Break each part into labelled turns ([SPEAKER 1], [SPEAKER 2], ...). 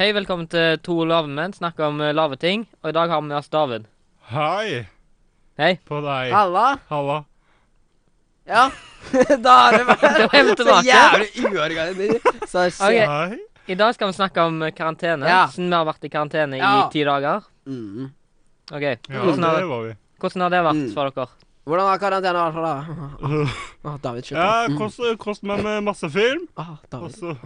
[SPEAKER 1] Hei, velkommen til To lave menn, snakker om eh, lave ting. Og i dag har vi med oss David.
[SPEAKER 2] Hei!
[SPEAKER 1] Hei.
[SPEAKER 2] På deg.
[SPEAKER 3] Halla.
[SPEAKER 2] Halla.
[SPEAKER 3] Ja. da er det
[SPEAKER 1] Da er vi
[SPEAKER 3] så
[SPEAKER 1] tilbake.
[SPEAKER 3] jævlig uorganisert. Så
[SPEAKER 1] Ok.
[SPEAKER 3] shit.
[SPEAKER 2] Hei.
[SPEAKER 1] I dag skal vi snakke om eh, karantene,
[SPEAKER 3] Ja.
[SPEAKER 1] siden vi har vært i karantene
[SPEAKER 3] Ja.
[SPEAKER 1] i ti dager.
[SPEAKER 3] Mm.
[SPEAKER 1] Ok,
[SPEAKER 2] Ja,
[SPEAKER 1] hvordan, har,
[SPEAKER 2] det var vi.
[SPEAKER 1] hvordan har det vært
[SPEAKER 3] Mm.
[SPEAKER 1] for dere?
[SPEAKER 3] Hvordan har karantena vært for deg? Åh, David, slutt.
[SPEAKER 2] Ja, Altså.
[SPEAKER 3] da. Mm.
[SPEAKER 2] kost, kost meg med masse film,
[SPEAKER 3] Åh,
[SPEAKER 2] og
[SPEAKER 3] David,
[SPEAKER 2] så,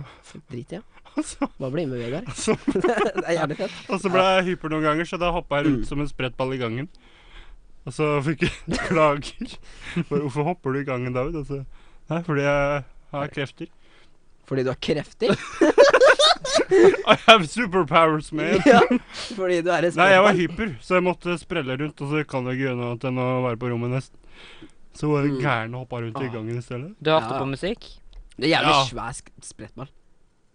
[SPEAKER 3] drit i det.
[SPEAKER 2] og så,
[SPEAKER 3] Bare bli med Vegard.
[SPEAKER 2] og så,
[SPEAKER 3] det er jævlig fett.
[SPEAKER 2] og så ble jeg hyper noen ganger, så da hoppa jeg rundt som en sprettball i gangen. Og så fikk jeg klager. For, hvorfor hopper du i gangen, David? Og så, nei, fordi jeg har krefter.
[SPEAKER 3] Fordi du har krefter?
[SPEAKER 2] I have superpowers, man.
[SPEAKER 3] ja. Fordi du er en
[SPEAKER 2] Nei, jeg var
[SPEAKER 3] sportsmann.
[SPEAKER 2] hyper, så jeg måtte sprelle rundt, og så kan jeg ikke gjøre noe annet enn å være på rommet nesten. Så var jeg
[SPEAKER 3] Mm.
[SPEAKER 2] gæren og hoppa rundt i
[SPEAKER 3] Ah.
[SPEAKER 2] gangen i stedet.
[SPEAKER 1] Du hørte
[SPEAKER 3] Ja.
[SPEAKER 1] på musikk?
[SPEAKER 3] Det er jævlig
[SPEAKER 2] Ja.
[SPEAKER 3] svær sk- sprettball.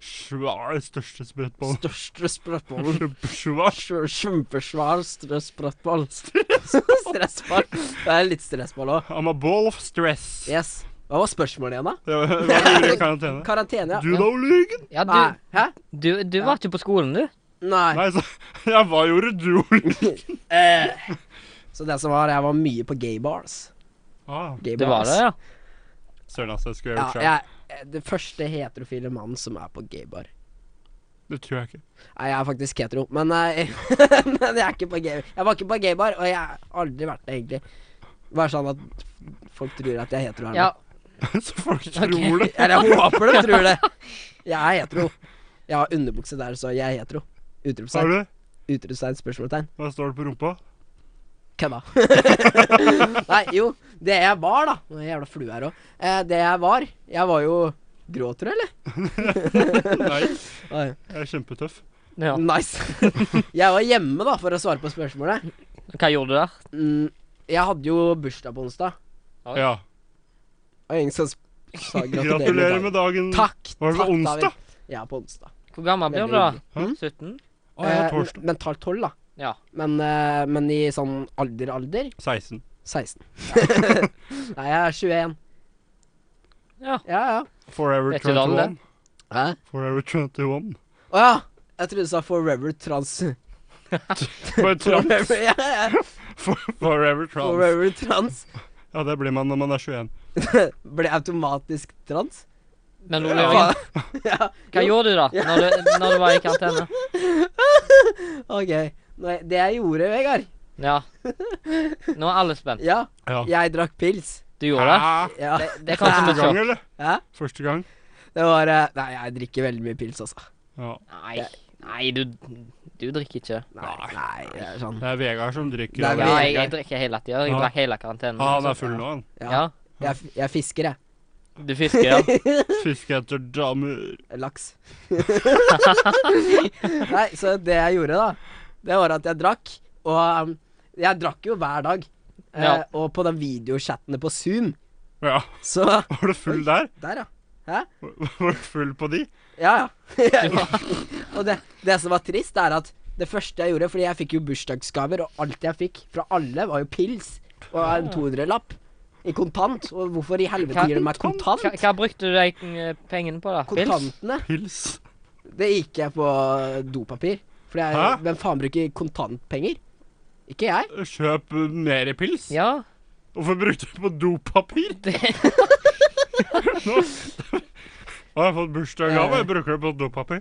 [SPEAKER 2] Svær, største sprettball.
[SPEAKER 3] Største sprettballen.
[SPEAKER 2] Svær.
[SPEAKER 3] Kjempesvær sprettball. Stressball. Det er litt stressball òg.
[SPEAKER 2] I'm a ball of stress.
[SPEAKER 3] Yes. Hva var spørsmålet igjen, da?
[SPEAKER 2] Det var, det var mye karantene.
[SPEAKER 3] Karantene, ja.
[SPEAKER 2] Du da, Oligen?
[SPEAKER 1] Ja, du,
[SPEAKER 3] Nei. Hæ?
[SPEAKER 1] du, du
[SPEAKER 3] Ja.
[SPEAKER 1] var ikke på skolen, du.
[SPEAKER 3] Nei.
[SPEAKER 2] Nei, så Ja, hva gjorde du, Oligen?
[SPEAKER 3] Eh, Så det som var, jeg var mye på gay bars.
[SPEAKER 2] Ah,
[SPEAKER 3] Gay
[SPEAKER 1] Det var
[SPEAKER 3] bars.
[SPEAKER 1] det, ja.
[SPEAKER 2] Søren, altså. Jeg skulle
[SPEAKER 3] Ja,
[SPEAKER 2] gjort det sjøl.
[SPEAKER 3] jeg, eh, det første heterofile mannen som er på gaybar.
[SPEAKER 2] Det tror jeg ikke.
[SPEAKER 3] Nei, jeg er faktisk hetero, men, eh, men jeg er ikke på gay Jeg var ikke på gaybar, og jeg har aldri vært det, egentlig. Bare sånn at folk tror at jeg er hetero her nå.
[SPEAKER 1] ja.
[SPEAKER 2] så folk
[SPEAKER 1] Ok.
[SPEAKER 2] tror det.
[SPEAKER 3] Eller jeg håper de tror det. Jeg er hetero. Jeg har underbukse der, så jeg er hetero.
[SPEAKER 2] Har
[SPEAKER 3] Utropstegn.
[SPEAKER 2] du?
[SPEAKER 3] Utropstegn, spørsmålstegn.
[SPEAKER 2] Hva står det på rumpa?
[SPEAKER 3] Kødda. Nei, jo. Det jeg var, da Nå er jeg jævla flue her òg. Eh, det jeg var Jeg var jo grå, tror jeg,
[SPEAKER 2] Nei,
[SPEAKER 3] eller?
[SPEAKER 2] jeg er kjempetøff.
[SPEAKER 1] ja.
[SPEAKER 3] Nice. jeg var hjemme, da, for å svare på spørsmålet.
[SPEAKER 1] Hva gjorde du der?
[SPEAKER 3] Mm, jeg hadde jo bursdag på onsdag,
[SPEAKER 2] Ja.
[SPEAKER 3] og ingen som sa
[SPEAKER 2] Gratulerer med dagen.
[SPEAKER 3] Takk.
[SPEAKER 2] Var det på
[SPEAKER 3] takk,
[SPEAKER 2] onsdag?
[SPEAKER 3] David. Ja, på onsdag.
[SPEAKER 1] Hvor gammel blir du da?
[SPEAKER 3] Veldig hyggelig.
[SPEAKER 1] 17?
[SPEAKER 2] Å, jeg
[SPEAKER 3] Eh,
[SPEAKER 2] er torsdag.
[SPEAKER 3] mentalt tolv, da.
[SPEAKER 1] Ja.
[SPEAKER 3] Men, eh, men i sånn alder-alder
[SPEAKER 2] 16.
[SPEAKER 3] 16. Nei, jeg er 21.
[SPEAKER 1] Ja.
[SPEAKER 3] Ja, ja.
[SPEAKER 2] Forever
[SPEAKER 1] Vet ikke du alle
[SPEAKER 2] 21.
[SPEAKER 3] Hæ?
[SPEAKER 2] Forever 21.
[SPEAKER 3] Å ja. Jeg trodde du sa Forever Trans.
[SPEAKER 2] For trans.
[SPEAKER 3] Forever, ja, ja.
[SPEAKER 2] For- Forever trans.
[SPEAKER 3] Forever Trans.
[SPEAKER 2] Ja, det blir man når man er 21.
[SPEAKER 3] Ble automatisk trans?
[SPEAKER 1] Men Ole
[SPEAKER 2] Ja.
[SPEAKER 1] Jørgen,
[SPEAKER 3] ja.
[SPEAKER 1] hva gjorde du da, når du, når du var i karantene?
[SPEAKER 3] OK. Nei, det jeg gjorde, Vegard
[SPEAKER 1] Ja. Nå er alle spent.
[SPEAKER 3] Ja,
[SPEAKER 2] Ja. Ah.
[SPEAKER 3] jeg drakk pils.
[SPEAKER 1] Du gjorde det?
[SPEAKER 2] Hæ?
[SPEAKER 3] Ja.
[SPEAKER 1] Det, det er kanskje
[SPEAKER 2] Første
[SPEAKER 1] litt
[SPEAKER 2] gang,
[SPEAKER 1] sjokk.
[SPEAKER 2] eller?
[SPEAKER 3] Hæ?
[SPEAKER 2] Første gang?
[SPEAKER 3] Det var eh, Nei, jeg drikker veldig mye pils, altså.
[SPEAKER 2] Ja.
[SPEAKER 1] Nei, nei du, du drikker ikke.
[SPEAKER 3] Nei, nei, det er sånn.
[SPEAKER 2] Det er Vegard som drikker.
[SPEAKER 3] Det er
[SPEAKER 2] og-
[SPEAKER 1] Ja,
[SPEAKER 3] Vegard.
[SPEAKER 1] jeg, jeg drikker hele tida. Jeg
[SPEAKER 2] Ja.
[SPEAKER 1] drakk hele karantenen.
[SPEAKER 2] Ah, han er full nå, han.
[SPEAKER 3] Ja.
[SPEAKER 1] Ja.
[SPEAKER 3] Jeg, f- jeg fisker, jeg.
[SPEAKER 1] Du fisker, ja.
[SPEAKER 2] Fisker etter damer.
[SPEAKER 3] Laks. nei, så det jeg gjorde, da, det var at jeg drakk. Og um, jeg drakk jo hver dag. Eh,
[SPEAKER 1] Ja.
[SPEAKER 3] Og på de videochattene på Zoom,
[SPEAKER 2] Ja,
[SPEAKER 3] så
[SPEAKER 2] Var du full der?
[SPEAKER 3] Der, ja.
[SPEAKER 2] Var du full på de?
[SPEAKER 3] Ja, ja. og det, det som var trist, er at det første jeg gjorde Fordi jeg fikk jo bursdagsgaver, og alt jeg fikk fra alle, var jo pils. Og en 200-lapp i kontant. Og hvorfor i helvete gir de meg kontant?
[SPEAKER 1] Hva, hva brukte du de eh, pengene på, da? Pils?
[SPEAKER 3] Kontantene.
[SPEAKER 2] Pils?
[SPEAKER 3] Det gikk jeg på dopapir. For jeg,
[SPEAKER 2] Hæ?
[SPEAKER 3] hvem faen bruker kontantpenger? Ikke jeg.
[SPEAKER 2] Kjøp uh, mer pils?
[SPEAKER 1] Ja.
[SPEAKER 2] Hvorfor brukte du på dopapir?
[SPEAKER 1] Det,
[SPEAKER 2] Nå har jeg fått bursdagsgave, jeg bruker det på dopapir.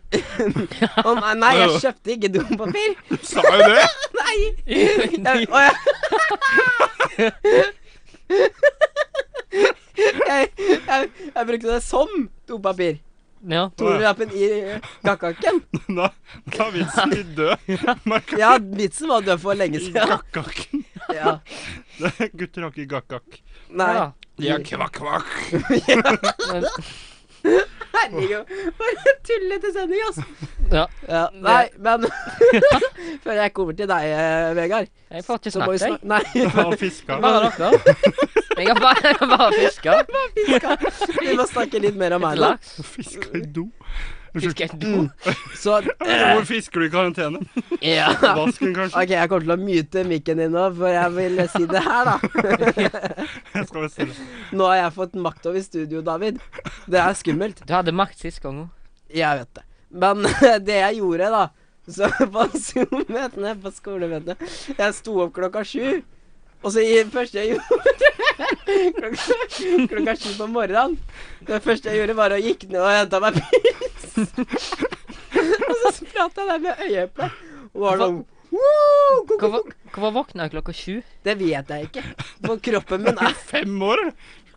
[SPEAKER 3] Å nei, nei, jeg kjøpte ikke dopapir.
[SPEAKER 2] Du sa jo det!
[SPEAKER 3] Nei! Jeg, å, jeg, jeg, jeg, jeg brukte det som dopapir.
[SPEAKER 1] ja.
[SPEAKER 3] Tonerlappen i gakkakken.
[SPEAKER 2] Da, da er vitsen litt død. Merka
[SPEAKER 3] Ja, vitsen var død for lenge siden.
[SPEAKER 2] gakkakken.
[SPEAKER 3] Ja.
[SPEAKER 2] Det- Gutter har ikke gakkakk.
[SPEAKER 3] Nei.
[SPEAKER 1] Ja.
[SPEAKER 2] De har kvakk-kvakk.
[SPEAKER 1] Men,
[SPEAKER 3] Herregud, for en tullete sending, ass.
[SPEAKER 1] ja.
[SPEAKER 3] Ja, nei, men Før jeg kommer til deg, eh, Vegard
[SPEAKER 1] Jeg får ikke
[SPEAKER 3] så må vi
[SPEAKER 1] snakket, jeg.
[SPEAKER 3] snak- Nei.
[SPEAKER 2] Og fiska.
[SPEAKER 1] Bare dere. Jeg har bare, jeg har bare fiska.
[SPEAKER 3] Vi, skal, vi må snakke litt mer om meg nå.
[SPEAKER 1] Laks.
[SPEAKER 2] Fiska i do. Unnskyld.
[SPEAKER 1] Fiske et do.
[SPEAKER 3] Så
[SPEAKER 2] Hvor fisker du i karantene?
[SPEAKER 3] ja.
[SPEAKER 2] Vasken, kanskje?
[SPEAKER 3] OK, jeg kommer til å mute mikken din nå, for jeg vil si det her, da.
[SPEAKER 2] Jeg skal være stille.
[SPEAKER 3] Nå har jeg fått makt over studio, David. Det er skummelt.
[SPEAKER 1] Du hadde makt sist gang òg.
[SPEAKER 3] Jeg vet det. Men det jeg gjorde, da Så på Zoom-møtene på skolemøtene Jeg sto opp klokka sju. Og så i- det første jeg gjorde klokka, klokka sju på morgenen Det første jeg gjorde, var å gikk ned og henta meg pils. og så prata jeg der med øyeeplet. Og var sånn «Woo, ko, ko, ko».
[SPEAKER 1] Hvorfor, hvorfor våkna jeg klokka sju?
[SPEAKER 3] Det vet jeg ikke. For kroppen min er
[SPEAKER 2] Fem år?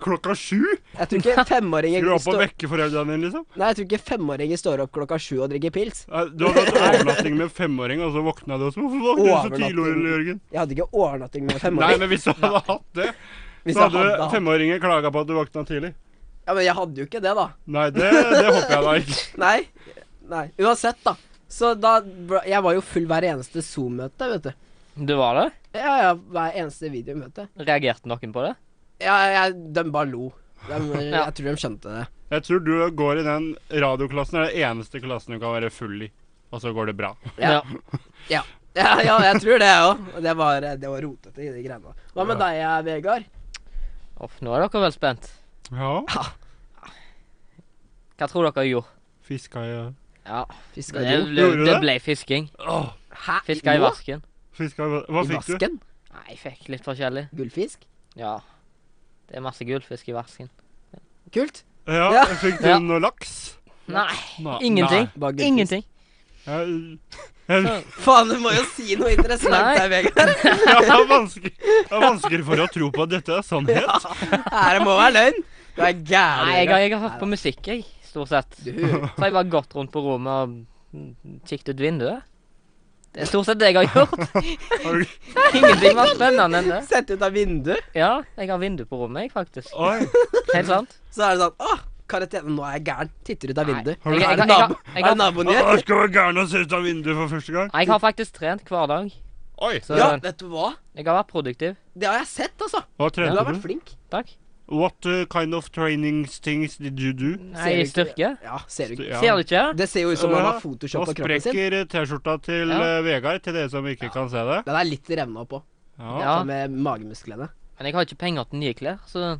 [SPEAKER 2] Klokka sju?
[SPEAKER 3] Jeg tror ikke
[SPEAKER 2] Skal du
[SPEAKER 3] femåringer
[SPEAKER 2] opp og
[SPEAKER 3] står
[SPEAKER 2] vekke foreldrene dine, liksom?
[SPEAKER 3] Nei, jeg tror ikke femåringer står opp klokka sju og drikker pils.
[SPEAKER 2] Nei, Du hadde hatt overnatting med en femåring, og så våkna du også. Hvorfor våkna du så tidlig,
[SPEAKER 3] Overnatting.
[SPEAKER 2] Ole Jørgen?
[SPEAKER 3] Jeg hadde ikke overnatting med
[SPEAKER 2] Nei,
[SPEAKER 3] femåringer.
[SPEAKER 2] men hvis du hadde hatt det,
[SPEAKER 3] Hvis
[SPEAKER 2] så
[SPEAKER 3] jeg
[SPEAKER 2] hadde
[SPEAKER 3] hadde hatt
[SPEAKER 2] femåringen klaga på at du våkna tidlig.
[SPEAKER 3] Ja, men jeg hadde jo ikke det, da.
[SPEAKER 2] Nei, det, det håper jeg da ikke.
[SPEAKER 3] Nei. Nei. Uansett, da. Så da bra- Jeg var jo full hver eneste Zoom-møte, vet du.
[SPEAKER 1] Du var det?
[SPEAKER 3] Ja, ja, hver eneste videomøte.
[SPEAKER 1] Reagerte noen på det?
[SPEAKER 3] Ja, jeg, de bare lo. Dem-
[SPEAKER 1] Ja.
[SPEAKER 3] Jeg tror de skjønte det.
[SPEAKER 2] Jeg tror du går i den radioklassen, er den eneste klassen du kan være full i. Og så går det bra.
[SPEAKER 3] Ja. Ja, ja jeg tror det, jeg òg. Det var, det var rotete, de greiene. Hva med deg, eh, Vegard?
[SPEAKER 1] Uff, nå er dere vel spent.
[SPEAKER 2] Ja.
[SPEAKER 1] Hva tror dere jeg gjorde?
[SPEAKER 2] Fiska i
[SPEAKER 1] Ja,
[SPEAKER 3] Fiska
[SPEAKER 1] det
[SPEAKER 3] i do?
[SPEAKER 1] ble,
[SPEAKER 2] Gjorde du
[SPEAKER 1] det
[SPEAKER 2] det?
[SPEAKER 1] ble fisking.
[SPEAKER 2] Åh,
[SPEAKER 3] Hæ?
[SPEAKER 1] Fiska i
[SPEAKER 3] Nå?
[SPEAKER 1] vasken.
[SPEAKER 2] fiska i Hva fikk
[SPEAKER 3] I
[SPEAKER 2] du?
[SPEAKER 3] vasken?
[SPEAKER 1] Nei, jeg fikk litt forskjellig.
[SPEAKER 3] Gullfisk?
[SPEAKER 1] Ja. Det er masse gullfisk i vasken.
[SPEAKER 3] Kult.
[SPEAKER 2] Ja,
[SPEAKER 3] Ja.
[SPEAKER 2] fikk du
[SPEAKER 1] Ja.
[SPEAKER 2] noe laks?
[SPEAKER 1] Nei,
[SPEAKER 2] Nei.
[SPEAKER 1] ingenting.
[SPEAKER 3] Bare gullfisk.
[SPEAKER 1] Ingenting.
[SPEAKER 2] Jeg, jeg,
[SPEAKER 3] Faen, du må jo si noe interessant
[SPEAKER 1] Nei.
[SPEAKER 3] der, Vegard.
[SPEAKER 2] jeg har vanskelig jeg har vanskelig for å tro på at dette er sannhet.
[SPEAKER 3] Her må være løgn. Du er gæren.
[SPEAKER 1] Nei, jeg har,
[SPEAKER 3] Vegard.
[SPEAKER 1] jeg har hørt på musikk, jeg, stort sett.
[SPEAKER 3] Du hører
[SPEAKER 1] Så har jeg bare gått rundt på rommet og mm, kikket ut vinduet. Det er stort sett det jeg har gjort.
[SPEAKER 2] Har du-
[SPEAKER 1] Ingenting var spennende enn det.
[SPEAKER 3] Sett ut av vinduet,
[SPEAKER 1] Ja, jeg har vindu på rommet, jeg, faktisk.
[SPEAKER 2] Oi.
[SPEAKER 1] Helt sant.
[SPEAKER 3] så er det sånn Åh, karantene, nå er jeg gæren. Titter ut av
[SPEAKER 1] Nei.
[SPEAKER 3] vinduet.
[SPEAKER 2] Har du-
[SPEAKER 3] Er
[SPEAKER 1] Jeg- jeg- jeg-
[SPEAKER 3] det nabo-
[SPEAKER 1] jeg-
[SPEAKER 3] er det naboen
[SPEAKER 2] Å,
[SPEAKER 3] din?
[SPEAKER 2] Jeg skal være gæren og se ut av vinduet for første gang.
[SPEAKER 1] Jeg har faktisk trent hver dag,
[SPEAKER 2] Oi.
[SPEAKER 1] så
[SPEAKER 3] Ja, vet du hva?
[SPEAKER 1] jeg har vært produktiv.
[SPEAKER 3] Det har jeg sett, altså.
[SPEAKER 2] Hva
[SPEAKER 3] Du
[SPEAKER 2] trente
[SPEAKER 3] har vært
[SPEAKER 2] du?
[SPEAKER 3] flink.
[SPEAKER 1] Takk.
[SPEAKER 2] What uh, kind of training things did you do?
[SPEAKER 1] Nei, i
[SPEAKER 3] Ser du ikke-
[SPEAKER 1] styrke.
[SPEAKER 3] Ja, ser du ikke.
[SPEAKER 2] Ja.
[SPEAKER 1] Ser du ikke?
[SPEAKER 3] Det ser jo ut som han
[SPEAKER 2] Ja,
[SPEAKER 3] har
[SPEAKER 2] Nå
[SPEAKER 3] Photoshop på kroppen sin.
[SPEAKER 2] sprekker eh, T-skjorta til
[SPEAKER 1] Ja.
[SPEAKER 2] eh, Vegard, til dere som ikke kan se det.
[SPEAKER 3] Den er litt revna på,
[SPEAKER 2] Ja.
[SPEAKER 1] Ja.
[SPEAKER 3] sånn med magemusklene.
[SPEAKER 1] Men jeg har ikke penger til nye klær, så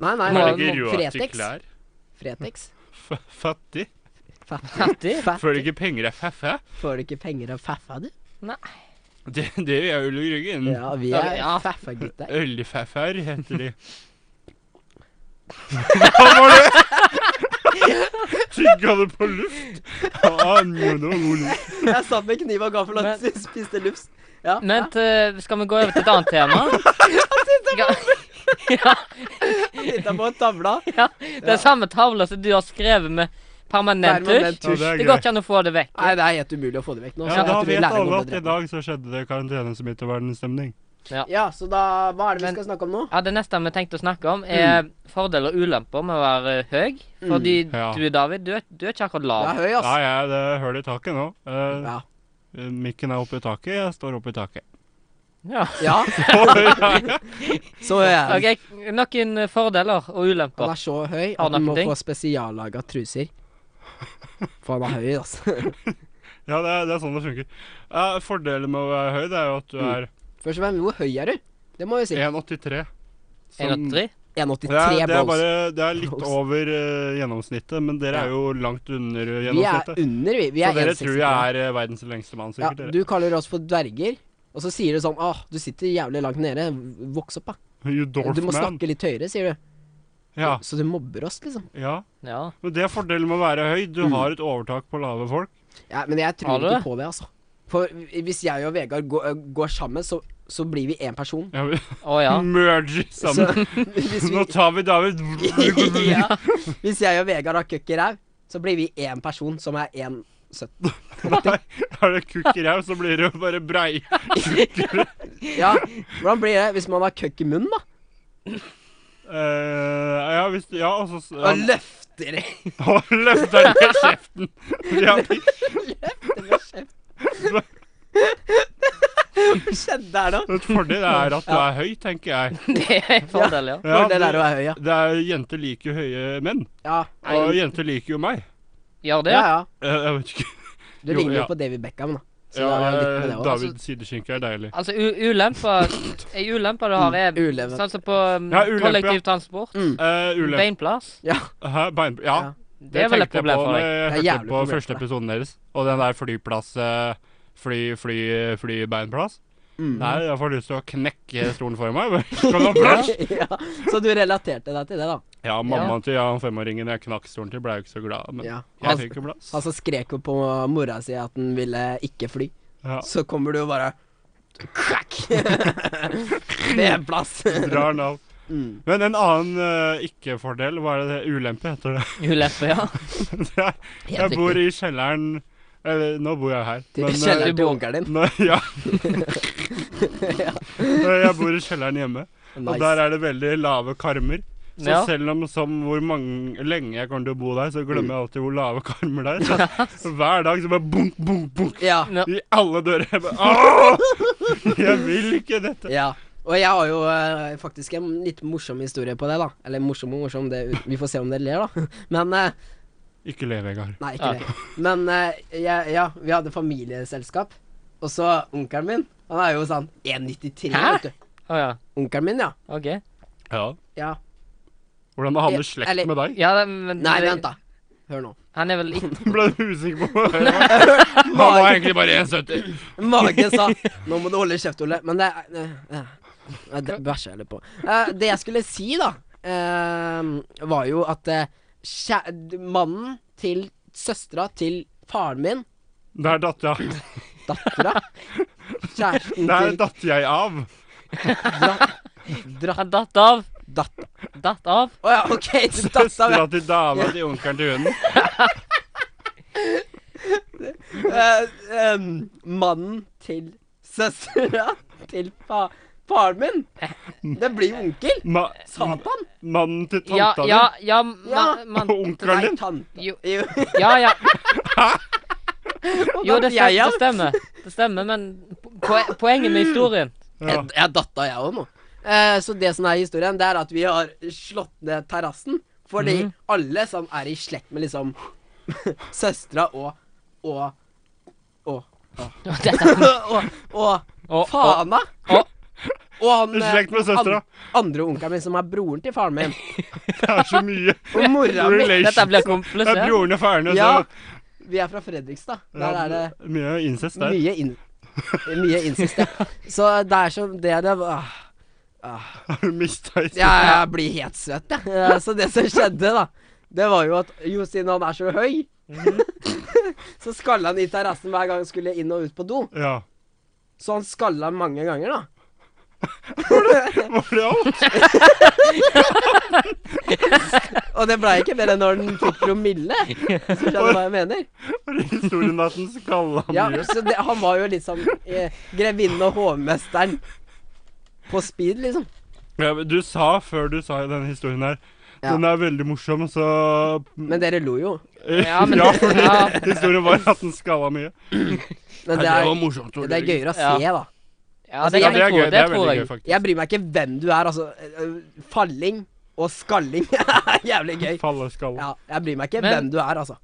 [SPEAKER 3] Nei, nei,
[SPEAKER 1] Du må
[SPEAKER 2] Man
[SPEAKER 3] nei.
[SPEAKER 1] Ja,
[SPEAKER 2] legger
[SPEAKER 3] må-
[SPEAKER 2] råd til
[SPEAKER 3] Fretex.
[SPEAKER 2] klær.
[SPEAKER 3] Fretex.
[SPEAKER 2] F fattig.
[SPEAKER 3] Fattig.
[SPEAKER 1] fattig.
[SPEAKER 2] Føler
[SPEAKER 3] Fattig.
[SPEAKER 2] ikke penger er fæffe.
[SPEAKER 3] Får du ikke penger av faffa, du?
[SPEAKER 2] Det, det gjør jeg Ulle Ryggen.
[SPEAKER 3] Ja, vi
[SPEAKER 1] Ja,
[SPEAKER 3] er
[SPEAKER 1] ja.
[SPEAKER 3] faffa-gutter.
[SPEAKER 2] Øllefæffer heter de. Hva var det? Tygga det på luft? Ah, no, no, no, no.
[SPEAKER 3] Jeg satt med kniv og gaffel og
[SPEAKER 1] Men-
[SPEAKER 3] spiste lufs. Ja.
[SPEAKER 1] Men eh, skal vi gå over til et annet tema? ja,
[SPEAKER 3] Sitta på tavla.
[SPEAKER 1] det er samme tavle som du har skrevet med permanent
[SPEAKER 3] Permanent
[SPEAKER 1] tusj.
[SPEAKER 2] Ja, det
[SPEAKER 1] Det
[SPEAKER 2] er greit.
[SPEAKER 1] går ikke an å få det vekk.
[SPEAKER 3] Nei, det er helt umulig å få det vekk nå. så
[SPEAKER 2] Ja,
[SPEAKER 3] jeg
[SPEAKER 2] da
[SPEAKER 3] tror vi
[SPEAKER 2] vet
[SPEAKER 3] lærer noe
[SPEAKER 2] alle
[SPEAKER 3] om
[SPEAKER 2] at i
[SPEAKER 3] det.
[SPEAKER 2] dag så skjedde det karantenesmitte og verdensstemning.
[SPEAKER 3] Ja, så da Hva er det vi
[SPEAKER 1] Men-
[SPEAKER 3] skal snakke om nå?
[SPEAKER 1] Ja, Det neste vi tenkte å snakke om, er
[SPEAKER 2] Mm.
[SPEAKER 1] fordeler og ulemper med å være eh, høy. Fordi
[SPEAKER 2] Ja.
[SPEAKER 1] du, David, du er, du er ikke akkurat
[SPEAKER 3] Det
[SPEAKER 1] lav.
[SPEAKER 3] er høy, ass.
[SPEAKER 2] Mm. Nei, jeg, det er hull i taket nå. Eh,
[SPEAKER 3] Ja.
[SPEAKER 2] mikken er oppe i taket, jeg står oppe i taket.
[SPEAKER 1] Ja.
[SPEAKER 3] ja. Så høy er han.
[SPEAKER 1] Ok, Noen eh, fordeler og
[SPEAKER 3] Han
[SPEAKER 1] ulemper.
[SPEAKER 3] er så høy
[SPEAKER 1] Har han
[SPEAKER 3] at han må
[SPEAKER 1] appelting?
[SPEAKER 3] få spesiallaga truser. For han er høy, altså.
[SPEAKER 2] Ja, det er, det er sånn det funker. Eh, fordelen med å være høy, det er jo at du
[SPEAKER 3] Mm.
[SPEAKER 2] er
[SPEAKER 3] Først og fremst, hvor høy er du? Det må vi si.
[SPEAKER 2] 1,83.
[SPEAKER 1] 1,83.
[SPEAKER 2] Som- Det er,
[SPEAKER 3] 1,83
[SPEAKER 2] det, er
[SPEAKER 3] balls.
[SPEAKER 2] bare, det er litt
[SPEAKER 3] Balls.
[SPEAKER 2] over eh, gjennomsnittet, men dere
[SPEAKER 3] Ja.
[SPEAKER 2] er jo langt under eh,
[SPEAKER 3] Vi er
[SPEAKER 2] gjennomsnittet.
[SPEAKER 3] under, vi. Vi
[SPEAKER 2] Så
[SPEAKER 3] er
[SPEAKER 2] dere tror
[SPEAKER 3] 1,63.
[SPEAKER 2] jeg er eh, verdens lengste mann,
[SPEAKER 3] Ja,
[SPEAKER 2] sikkert? dere.
[SPEAKER 3] du kaller oss for dverger, og så sier du sånn Åh, du sitter jævlig langt nede. Voks opp, da.
[SPEAKER 2] You dwarf
[SPEAKER 3] Du må
[SPEAKER 2] man.
[SPEAKER 3] snakke litt høyere, sier du.
[SPEAKER 2] Ja,
[SPEAKER 3] Så du mobber oss, liksom.
[SPEAKER 2] ja.
[SPEAKER 1] Ja.
[SPEAKER 2] Men det er fordelen med å være høy. Du
[SPEAKER 3] Mm.
[SPEAKER 2] har et overtak på lave folk.
[SPEAKER 3] Ja, men jeg
[SPEAKER 1] Har
[SPEAKER 3] tror
[SPEAKER 1] du
[SPEAKER 3] ikke
[SPEAKER 1] det?
[SPEAKER 3] på det, altså. For hvis jeg og Vegard går, går sammen, så, så blir vi én person.
[SPEAKER 2] Ja, vi
[SPEAKER 1] Å ja.
[SPEAKER 2] merger
[SPEAKER 3] Så
[SPEAKER 2] sammen.
[SPEAKER 3] hvis,
[SPEAKER 2] Nå
[SPEAKER 3] vi,
[SPEAKER 2] tar vi David.
[SPEAKER 3] ja, hvis jeg og Vegard har kukk i ræv, så blir vi én person som er 1,70.
[SPEAKER 2] Nei, er det kukk i ræv, så blir det jo bare brei.
[SPEAKER 3] Ja, hvordan blir det hvis man har kukk i munnen, da?
[SPEAKER 2] Eh, ja, hvis Ja, og så s-
[SPEAKER 3] Og
[SPEAKER 2] han-
[SPEAKER 3] løfter det
[SPEAKER 2] Han løfter ned kjeften. Ja,
[SPEAKER 3] med kjeft. Hva skjedde her nå?
[SPEAKER 2] et fordel er at du er høy, tenker jeg.
[SPEAKER 1] Det er en fordel, ja.
[SPEAKER 2] Ja,
[SPEAKER 3] det der å være høy, ja.
[SPEAKER 2] det er, jenter liker jo høye menn.
[SPEAKER 3] Ja,
[SPEAKER 2] Og jenter liker jo meg.
[SPEAKER 1] Gjør det?
[SPEAKER 3] ja. ja.
[SPEAKER 2] Eh, jeg vet ikke.
[SPEAKER 3] Du
[SPEAKER 2] Jo,
[SPEAKER 3] ligner jo
[SPEAKER 2] ja.
[SPEAKER 3] på David Beckham, da. Så det
[SPEAKER 2] Ja,
[SPEAKER 3] er litt med det
[SPEAKER 2] eh,
[SPEAKER 3] også. altså.
[SPEAKER 2] David sideskinke er deilig.
[SPEAKER 1] Altså, u ulemper Ei ulempe du har, er
[SPEAKER 3] Ulempe.
[SPEAKER 1] sånn som på um,
[SPEAKER 2] Ja, ulempe, ja.
[SPEAKER 1] kollektivtransport.
[SPEAKER 3] Mm.
[SPEAKER 2] Uh, ulempe
[SPEAKER 1] Beinplass.
[SPEAKER 3] Ja.
[SPEAKER 2] Hæ? Bein... Ja.
[SPEAKER 3] Ja.
[SPEAKER 1] Det er vel et problem for deg.
[SPEAKER 2] deg. Jeg
[SPEAKER 3] Det er
[SPEAKER 2] hørte
[SPEAKER 3] jævlig
[SPEAKER 2] på
[SPEAKER 3] problem
[SPEAKER 2] første
[SPEAKER 3] for deg.
[SPEAKER 2] episoden deres, og den der flyplass... eh, Fly, fly, flybeinplass. Nei, jeg får lyst til å knekke stolen for meg. Kom da, plass!
[SPEAKER 3] Mm. ja, så du relaterte deg til det, da?
[SPEAKER 2] Ja, mammaen til Jan femåringen jeg knakk stolen til, ble jo ikke så glad, men
[SPEAKER 3] Ja. Altså-
[SPEAKER 2] jeg
[SPEAKER 3] Han,
[SPEAKER 2] fikk jo plass.
[SPEAKER 3] han som skrek jo på mora si at han ville ikke fly.
[SPEAKER 2] Ja.
[SPEAKER 3] Så kommer du og bare Krakk! det er plass.
[SPEAKER 2] Drar den av.
[SPEAKER 3] Mm.
[SPEAKER 2] Men en annen eh, ikke-fordel, hva er det det ulempe heter det?
[SPEAKER 1] Ulempe, ja.
[SPEAKER 2] det er,
[SPEAKER 1] Helt
[SPEAKER 2] jeg bor
[SPEAKER 1] riktig.
[SPEAKER 2] i kjelleren Eller, nå bor jeg her.
[SPEAKER 3] Til
[SPEAKER 2] men, eh,
[SPEAKER 3] kjeller
[SPEAKER 1] du
[SPEAKER 3] til
[SPEAKER 1] bor-
[SPEAKER 3] onkelen din.
[SPEAKER 2] Når, ja. Når jeg bor i kjelleren hjemme, og der
[SPEAKER 3] Nice.
[SPEAKER 2] er det veldig lave karmer. Så
[SPEAKER 1] Ja.
[SPEAKER 2] selv om som hvor mange, lenge jeg kommer til å bo der, så glemmer jeg alltid hvor lave karmer det er. Så hver dag så bare bunk, bunk, bunk
[SPEAKER 3] Ja.
[SPEAKER 1] Ja.
[SPEAKER 2] i alle dører. Jeg bare Åh! Jeg vil ikke dette.
[SPEAKER 3] Ja. Og jeg har jo eh, faktisk en litt morsom historie på det, da. Eller morsom og morsom, det, vi får se om dere ler, da. Men eh,
[SPEAKER 2] Ikke le, Vegard.
[SPEAKER 3] Nei, ikke
[SPEAKER 1] Ah,
[SPEAKER 3] det. Men eh, jeg, ja, vi hadde familieselskap. Og så onkelen min, han er jo sånn 1,93,
[SPEAKER 1] Hæ?
[SPEAKER 3] vet du.
[SPEAKER 1] Å ja.
[SPEAKER 3] Onkelen min, ja.
[SPEAKER 1] OK.
[SPEAKER 2] Ja.
[SPEAKER 3] ja.
[SPEAKER 2] Hvordan har han med
[SPEAKER 3] Ja,
[SPEAKER 2] slekt
[SPEAKER 3] eller-
[SPEAKER 2] med deg?
[SPEAKER 1] Ja, men
[SPEAKER 3] Nei, vent, da. Hør nå.
[SPEAKER 1] Han er vel ikke
[SPEAKER 2] Ble du usikker på hva jeg var? Han var
[SPEAKER 3] Magen,
[SPEAKER 2] egentlig bare 1,70.
[SPEAKER 3] magen sa 'Nå må du holde kjeft, Ole'. Men det eh, eh, eh, Det bæsja jeg litt på. Eh, det jeg skulle si, da, eh, var jo at eh, kjæ- mannen til søstera til faren min,
[SPEAKER 2] Der datt jeg,
[SPEAKER 3] dattera Kjæresten
[SPEAKER 2] der
[SPEAKER 3] til
[SPEAKER 2] datt jeg av.
[SPEAKER 3] dra,
[SPEAKER 1] Han datt av.
[SPEAKER 3] datt...
[SPEAKER 1] Datt av.
[SPEAKER 3] Å ja, OK, du datt av, ja.
[SPEAKER 2] Søstera til dama til onkelen til hunden.
[SPEAKER 3] Eh, em, mannen til søstera til fa faren min. Det blir jo onkel.
[SPEAKER 2] Ma
[SPEAKER 3] Satan.
[SPEAKER 2] mannen til
[SPEAKER 1] Ja,
[SPEAKER 2] tanta
[SPEAKER 1] ja,
[SPEAKER 2] di.
[SPEAKER 1] ja, ma,
[SPEAKER 3] Ja.
[SPEAKER 1] man,
[SPEAKER 2] Og onkelen din.
[SPEAKER 3] tante.
[SPEAKER 1] Jo,
[SPEAKER 3] Jo,
[SPEAKER 1] ja, ja.
[SPEAKER 3] og
[SPEAKER 1] Jo,
[SPEAKER 3] da
[SPEAKER 1] det
[SPEAKER 3] blir jeg,
[SPEAKER 1] stemmer, det stemmer, det stemmer men poe- poenget med historien
[SPEAKER 2] Ja.
[SPEAKER 3] Jeg, jeg datta, jeg òg nå. Eh, så det som er historien, det er at vi har slått ned terrassen. Fordi
[SPEAKER 2] Mhm.
[SPEAKER 3] alle som er i slekt med liksom søstera og og og og, og,
[SPEAKER 1] Og-
[SPEAKER 3] Fana.
[SPEAKER 1] og-
[SPEAKER 3] og han eh,
[SPEAKER 2] Slekt med søstera.
[SPEAKER 3] andre onkelen min, som er broren til faren min.
[SPEAKER 2] Det er så mye
[SPEAKER 3] Og mora mi
[SPEAKER 1] Dette
[SPEAKER 2] relation.
[SPEAKER 1] blir
[SPEAKER 2] Det er
[SPEAKER 1] komplisert.
[SPEAKER 2] broren og faren. og
[SPEAKER 3] Ja,
[SPEAKER 2] så-
[SPEAKER 3] vi er fra Fredrikstad. Der
[SPEAKER 2] Ja,
[SPEAKER 3] er det
[SPEAKER 2] Mye incest der.
[SPEAKER 3] mye, in mye incest. ja. Så det er som det er det ah,
[SPEAKER 2] Har du mista incest?
[SPEAKER 3] Jeg, jeg blir helt svett, jeg. Eh, Så det som skjedde, da, det var jo at jo, siden han er så høy, så skalla han i terrassen hver gang han skulle inn og ut på do.
[SPEAKER 2] Ja.
[SPEAKER 3] Så han skalla mange ganger, da.
[SPEAKER 2] Var det alt?
[SPEAKER 3] Og det blei ikke mer enn når han fikk promille. Så skjønner du hva jeg mener?
[SPEAKER 2] Var det historien at den skalla
[SPEAKER 3] Ja,
[SPEAKER 2] mye?
[SPEAKER 3] så det, han var jo liksom eh, grevinnen og hovmesteren på speed, liksom.
[SPEAKER 2] Ja, men du sa før du sa i denne historien her
[SPEAKER 3] Ja.
[SPEAKER 2] Den er veldig morsom, så
[SPEAKER 3] Men dere lo jo.
[SPEAKER 1] Ja, men-
[SPEAKER 2] ja, fordi
[SPEAKER 1] ja.
[SPEAKER 2] historien var at den skalla mye.
[SPEAKER 3] Men det
[SPEAKER 2] Ja,
[SPEAKER 3] er,
[SPEAKER 2] morsomt. Tor
[SPEAKER 3] det er
[SPEAKER 2] Jørgen.
[SPEAKER 3] gøyere å
[SPEAKER 1] Ja.
[SPEAKER 3] se, da.
[SPEAKER 1] Ja,
[SPEAKER 3] Altså,
[SPEAKER 1] det,
[SPEAKER 2] Ja,
[SPEAKER 1] kan
[SPEAKER 2] det er
[SPEAKER 1] jeg tro.
[SPEAKER 2] gøy. Det er
[SPEAKER 1] tror
[SPEAKER 2] veldig
[SPEAKER 1] jeg.
[SPEAKER 2] gøy, faktisk.
[SPEAKER 3] Jeg bryr meg ikke hvem du er, altså. øh, Falling og skalling er jævlig gøy.
[SPEAKER 2] Falleskalla.
[SPEAKER 3] Ja, jeg bryr meg ikke
[SPEAKER 1] Men-
[SPEAKER 3] hvem du er, altså.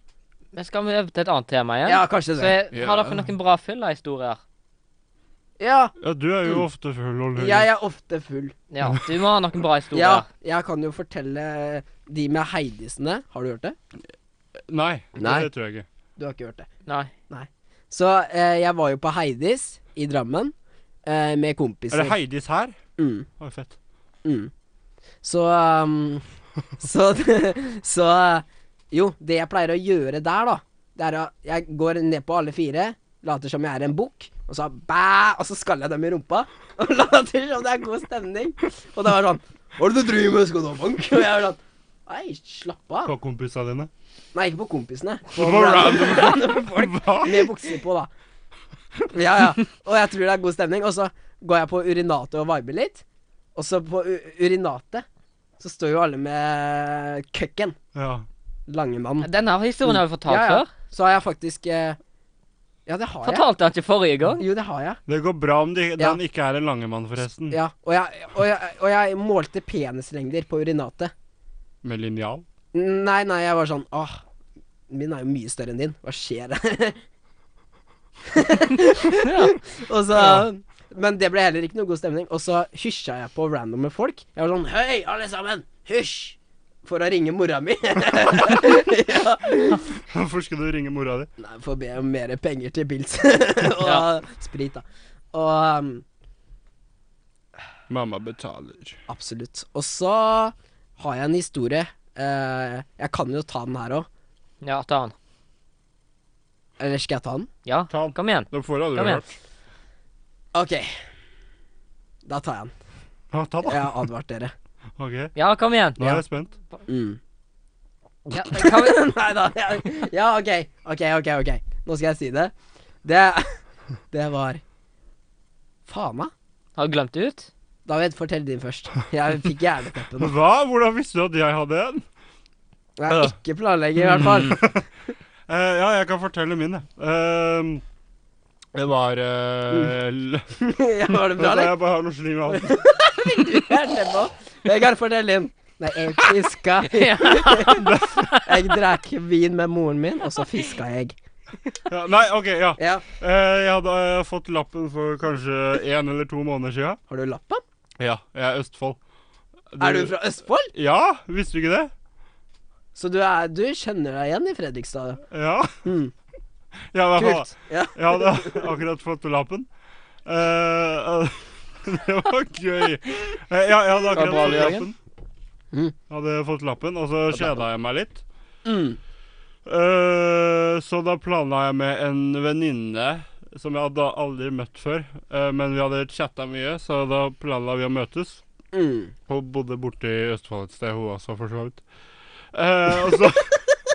[SPEAKER 1] Men skal vi over til et annet tema igjen?
[SPEAKER 3] Ja, kanskje
[SPEAKER 1] Så
[SPEAKER 3] det.
[SPEAKER 1] jeg, har dere noen bra fylla-historier?
[SPEAKER 3] Ja,
[SPEAKER 2] Ja, du er jo ofte full og løy.
[SPEAKER 3] jeg er ofte full.
[SPEAKER 1] Ja, du må ha noen bra
[SPEAKER 3] Ja,
[SPEAKER 1] historier.
[SPEAKER 3] jeg kan jo fortelle de med Heidisene. Har du hørt det?
[SPEAKER 2] Nei,
[SPEAKER 3] Nei.
[SPEAKER 2] det tror jeg ikke.
[SPEAKER 3] Du har ikke hørt det.
[SPEAKER 1] Nei.
[SPEAKER 3] Så eh, jeg var jo på Heidis i Drammen eh, med kompiser.
[SPEAKER 2] Er det Heidis her?
[SPEAKER 3] Mm,
[SPEAKER 2] Å, fett.
[SPEAKER 3] mm. Så um, Så Så Jo, det jeg pleier å gjøre der, da, det er at jeg går ned på alle fire, later som jeg er en bukk, og så bæ, og så skaller jeg dem i rumpa. Og later som det er god stemning. Og det var sånn Hva er det du driver med? Skal du ha bank? Og jeg var sånn Nei, slapp av.
[SPEAKER 2] På kompisene dine.
[SPEAKER 3] Nei, ikke på kompisene.
[SPEAKER 2] På random folk. Hva?
[SPEAKER 3] Med bukser på, da. Ja, ja. Og jeg tror det er god stemning. Og så går jeg på urinatet og viber litt. Og så på u urinatet så står jo alle med køkken.
[SPEAKER 2] Ja.
[SPEAKER 3] Langemann.
[SPEAKER 1] Denne historien har vi fortalt
[SPEAKER 3] Ja, ja.
[SPEAKER 1] før.
[SPEAKER 3] Så har jeg faktisk eh, Ja, det har jeg.
[SPEAKER 1] Fortalte han ikke forrige gang?
[SPEAKER 3] Jo, det har jeg.
[SPEAKER 2] Det går bra om de,
[SPEAKER 3] Ja.
[SPEAKER 2] den ikke er en langemann, forresten.
[SPEAKER 3] Ja, og jeg, og jeg, og jeg målte penislengder på urinatet.
[SPEAKER 2] Med linjal.
[SPEAKER 3] Nei, nei, jeg var sånn Åh, min er jo mye større enn din. Hva skjer her?
[SPEAKER 1] Ja.
[SPEAKER 3] Og så
[SPEAKER 2] Ja.
[SPEAKER 3] Men det ble heller ikke noe god stemning. Og så hysja jeg på randomme folk. Jeg var sånn Hei, alle sammen! Hysj! For å ringe mora mi. ja.
[SPEAKER 2] Hvorfor skal du ringe mora di?
[SPEAKER 3] Nei, for å be om mer penger til pils. og
[SPEAKER 1] Ja.
[SPEAKER 3] sprit, da. Og um,
[SPEAKER 2] Mamma betaler.
[SPEAKER 3] absolutt. Og så har jeg en historie. Eh, jeg kan jo ta den her òg.
[SPEAKER 1] Ja, ta han.
[SPEAKER 3] Eller skal jeg ta den?
[SPEAKER 1] Ja,
[SPEAKER 2] Ta han.
[SPEAKER 1] kom igjen.
[SPEAKER 2] Det får jeg
[SPEAKER 1] Kom
[SPEAKER 2] aldri
[SPEAKER 1] igjen.
[SPEAKER 2] hørt.
[SPEAKER 3] OK. Da tar jeg den.
[SPEAKER 2] Ja, ta
[SPEAKER 3] Jeg
[SPEAKER 2] da.
[SPEAKER 3] har advart dere.
[SPEAKER 2] Ok,
[SPEAKER 1] Ja, kom igjen.
[SPEAKER 2] nå er jeg spent.
[SPEAKER 3] Mm.
[SPEAKER 1] Ja, kan vi...
[SPEAKER 3] Nei da. Ja, ja, OK. OK, OK. ok Nå skal jeg si det. Det Det var Faen, da.
[SPEAKER 1] Har du glemt det ut?
[SPEAKER 3] David, fortell din først. Jeg fikk hjerneteppe nå.
[SPEAKER 2] Hva? Hvordan visste du at jeg hadde en?
[SPEAKER 3] Jeg er ikke planlegger, i hvert fall.
[SPEAKER 2] Eh, ja, jeg kan fortelle min, jeg. Ehm, det var eh, l-
[SPEAKER 3] Ja, var det bra,
[SPEAKER 2] Vent da,
[SPEAKER 3] eller?
[SPEAKER 2] Jeg bare har noe slim i halsen.
[SPEAKER 3] Etterpå. Vegard, fortell din. Nei, jeg fiska Jeg drakk vin med moren min, og så fiska jeg.
[SPEAKER 2] Ja, nei, OK, ja.
[SPEAKER 3] Ja.
[SPEAKER 2] Eh, jeg hadde eh, fått lappen for kanskje én eller to måneder sia.
[SPEAKER 3] Har du lappen?
[SPEAKER 2] Ja, jeg er Østfold.
[SPEAKER 3] Er du fra Østfold?
[SPEAKER 2] Ja, visste du ikke det?
[SPEAKER 3] Så du, er, du kjenner deg igjen i Fredrikstad?
[SPEAKER 2] Ja.
[SPEAKER 3] Mm.
[SPEAKER 2] Ja, i hvert fall.
[SPEAKER 3] Kult. Ja.
[SPEAKER 2] Jeg hadde akkurat fått lappen. Eh, eh, det var gøy. Eh, ja, jeg hadde akkurat
[SPEAKER 1] bra,
[SPEAKER 2] fått lappen.
[SPEAKER 1] Jørgen.
[SPEAKER 3] Mm.
[SPEAKER 2] Hadde fått lappen, og så kjeda jeg meg litt.
[SPEAKER 3] Mm.
[SPEAKER 2] Eh, så da planla jeg med en venninne som jeg hadde aldri møtt før. eh, men vi hadde chatta mye, så da planla vi å møtes.
[SPEAKER 3] Mm.
[SPEAKER 2] Hun bodde borte i Østfold et sted, hun også, for så vidt. Eh, og så